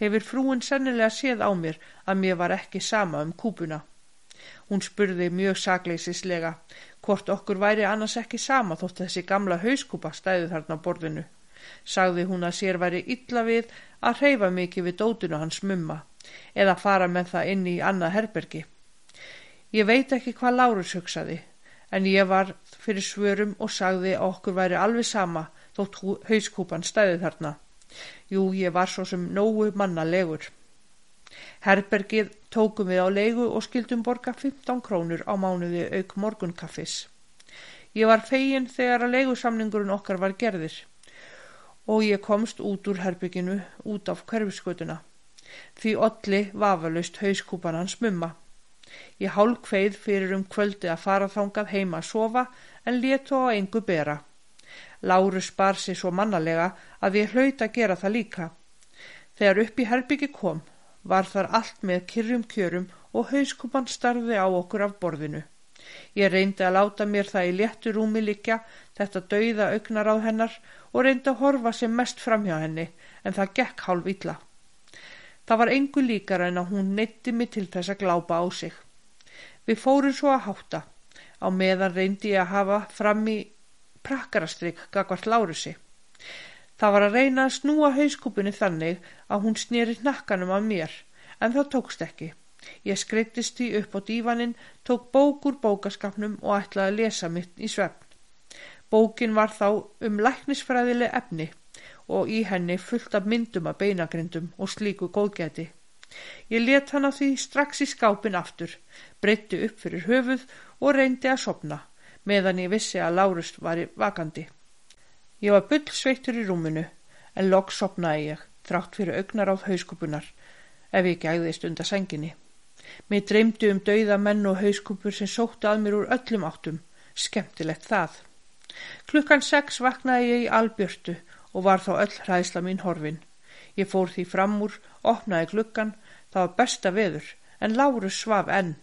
Hefur frúin sennilega séð á mér að mér var ekki sama um kúpuna. Hún spurði mjög sakleisislega hvort okkur væri annars ekki sama þótt þessi gamla hauskúpa stæði þarna á borðinu. Sagði hún að sér væri illa við að hreyfa mikið við dótinu hans mumma eða fara með það inn í annað herbergi. Ég veit ekki hvað Lárus hugsaði, en ég var fyrir svörum og sagði að okkur væri alveg sama þótt hú- hauskúpan stæði þarna. Jú, ég var svo sem nógu mannalegur. Herbergið tókum við á leigu og skildum borga 15 krónur á mánuði auk morgunkaffis. Ég var fegin þegar að leigusamningurinn okkar var gerðir og ég komst út úr herbygginu út af hverfiskutuna. Því olli vafalaust hauskúpan hans mumma. Ég hálkveið fyrir um kvöldi að fara þangað heima að sofa en lét þó á engu bera. Lárus bar sig svo mannalega að ég hlaut að gera það líka. Þegar upp í herbyggi kom var þar allt með kyrrum kjörum og hauskupan starði á okkur af borðinu. Ég reyndi að láta mér það í léttu rúmi liggja þetta dauða augnar á hennar og reyndi að horfa sem mest framhjá henni en það gekk hálf illa. Það var engu líkara en að hún neytti mig til þess að glápa á sig. Við fórum svo að hátta. Á meðan reyndi ég að hafa fram í prakkarastrygg gagvart Lárusi. Það var að reyna að snúa hauskúpunni þannig að hún sneri hnakkanum að mér, en það tókst ekki. Ég skreittist því upp á dífaninn, tók bók úr bókaskapnum og ætlaði að lesa mitt í svefn. Bókin var þá um læknisfræðileg efni og í henni fullt af myndum af beinagrindum og slíku góðgæti. Ég let hana því strax í skápin aftur, breytti upp fyrir höfuð og reyndi að sopna, meðan ég vissi að Lárust var í- vakandi. Ég var bullsveittur í rúminu, en loks sopnaði ég, þrátt fyrir augnaráð hauskupunar, ef ég gæðist undar senginni. Mér dreymdi um dauða menn og hauskupur sem sóttu að mér úr öllum áttum, skemmtilegt það. Klukkan sex vaknaði ég í albjörtu og var þá öll hræðsla mín horfin. Ég fór því fram úr, opnaði gluggan, það var besta veður, en Lárus svaf enn.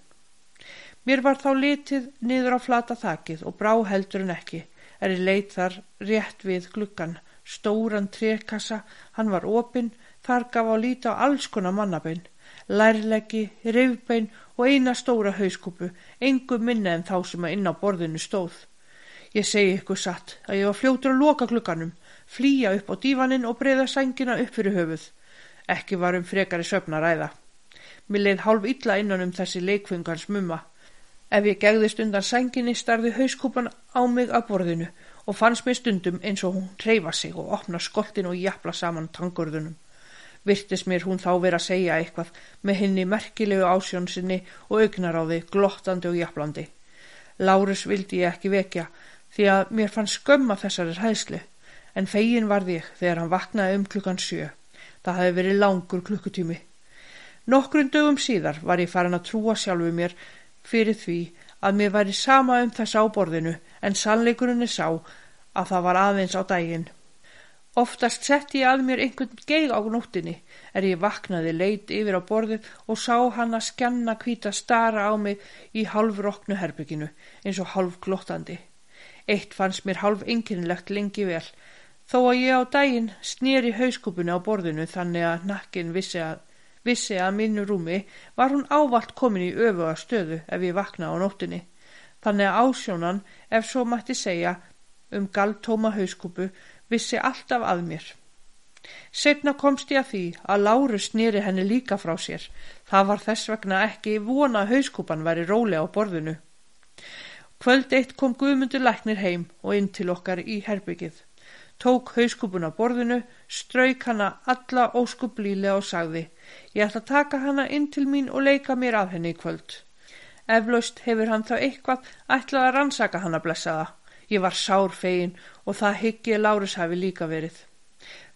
Mér var þá litið niður á flata þakið og brá heldur en ekki, er ég leit þar rétt við gluggan, stóran trékassa, hann var opinn, þar gaf á líta á alls konar mannabein, lærleggi, rifbein og eina stóra hauskúpu, engu minna en þá sem að inn á borðinu stóð. Ég segi ykkur satt að ég var fljótur að loka glugganum, flýja upp á dífaninn og breyða sængina upp fyrir höfuð. Ekki var um frekari söfn að ræða. Mér leið hálf illa innan um þessi leikfungans mumma. Ef ég gegðist undan sænginni starði hauskúpan á mig að borðinu og fannst mér stundum eins og hún hreyfa sig og opna skoltin og jafla saman tangurðunum. Virtist mér hún þá vera að segja eitthvað með henni merkilegu ásjón sinni og augnaráði, glottandi og jaflandi. Lárus vildi ég ekki vekja því að mér fann skömma þessari hræðslu en fegin varð ég þegar hann vaknaði um klukkan sjö. Það hafði verið langur klukkutími. Nokkrum dögum síðar var ég farin að trúa sjálfu mér fyrir því að mér væri sama um þess á borðinu en sannleikurinn er sá að það var aðeins á daginn. Oftast setti ég að mér einhvern geig á nóttinni er ég vaknaði leit yfir á borðið og sá hann að skjanna hvíta stara á mig í hálfroknu herbygginu eins og hálfglottandi. Eitt fannst mér hálf einkennilegt lengi vel þó að ég á daginn sneri hauskúpunni á borðinu þannig að nakkin vissi að, vissi að mínu rúmi var hún ávallt komin í öfuga stöðu ef ég vaknaði á nóttinni. Þannig að ásjónan, ef svo mætti segja, um galtóma hauskúpu vissi alltaf að mér. Setna komst ég að því að Lárus snýri henni líka frá sér. Það var þess vegna ekki vona að hauskúpan væri rólega á borðinu. Kvöld eitt kom Guðmundur Læknir heim og inn til okkar í herbyggið. Tók hauskúpuna borðinu, strauk hana alla óskublílega og sagði Ég ætla að taka hana inn til mín og leika mér að henni í kvöld. Eflaust hefur hann þá eitthvað ætlað að rannsaka hann að blessa það. Ég var sár fegin og það hyggi ég Lárus hafi líka verið.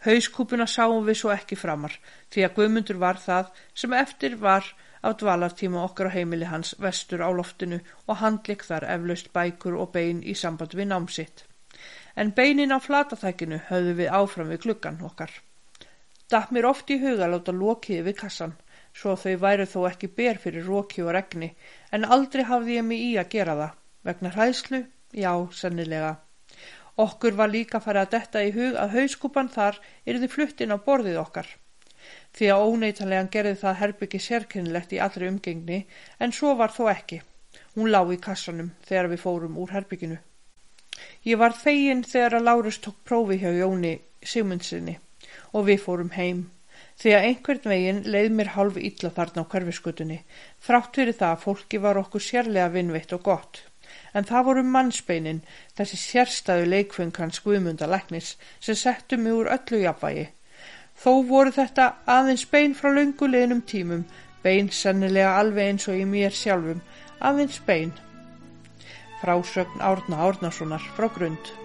Hauðskúpuna sáum við svo ekki framar því að Guðmundur var það sem eftir var á dvalartíma okkar á heimili hans vestur á loftinu og handlik þar eflaust bækur og bein í samband við námsitt. En beinin á flataþækinu höfðu við áfram við gluggan okkar. Datt mér oft í huga að láta lokiði við kassan, svo að þau væru þó ekki ber fyrir roki og regni, en aldrei hafði ég mig í að gera það, vegna hræðslu, já, sennilega. Okkur var líka farið að detta í hug að hauskúpan þar yrði fluttinn á borðið okkar. Því að óneitanlegan gerði það herbyggi sérkennilegt í allri umgengni, en svo var þó ekki. Hún lá í kassanum þegar við fórum úr herbygginu. Ég var fegin þegar að Lárus tók prófi hjá Jóni Sigmundsinni og við fórum heim því að einhvern veginn leið mér hálf illa þarna á hverfiskutunni þrátt fyrir það að fólki var okkur sérlega vinnveitt og gott en það voru mannsbeinin þessi sérstæðu leikfeng hans guðmundalæknis sem settu mig úr öllu jafnvægi þó voru þetta aðeins bein frá lönguleginum tímum bein sennilega alveg eins og í mér sjálfum aðeins bein frásögn Árna Árnasonar frá grund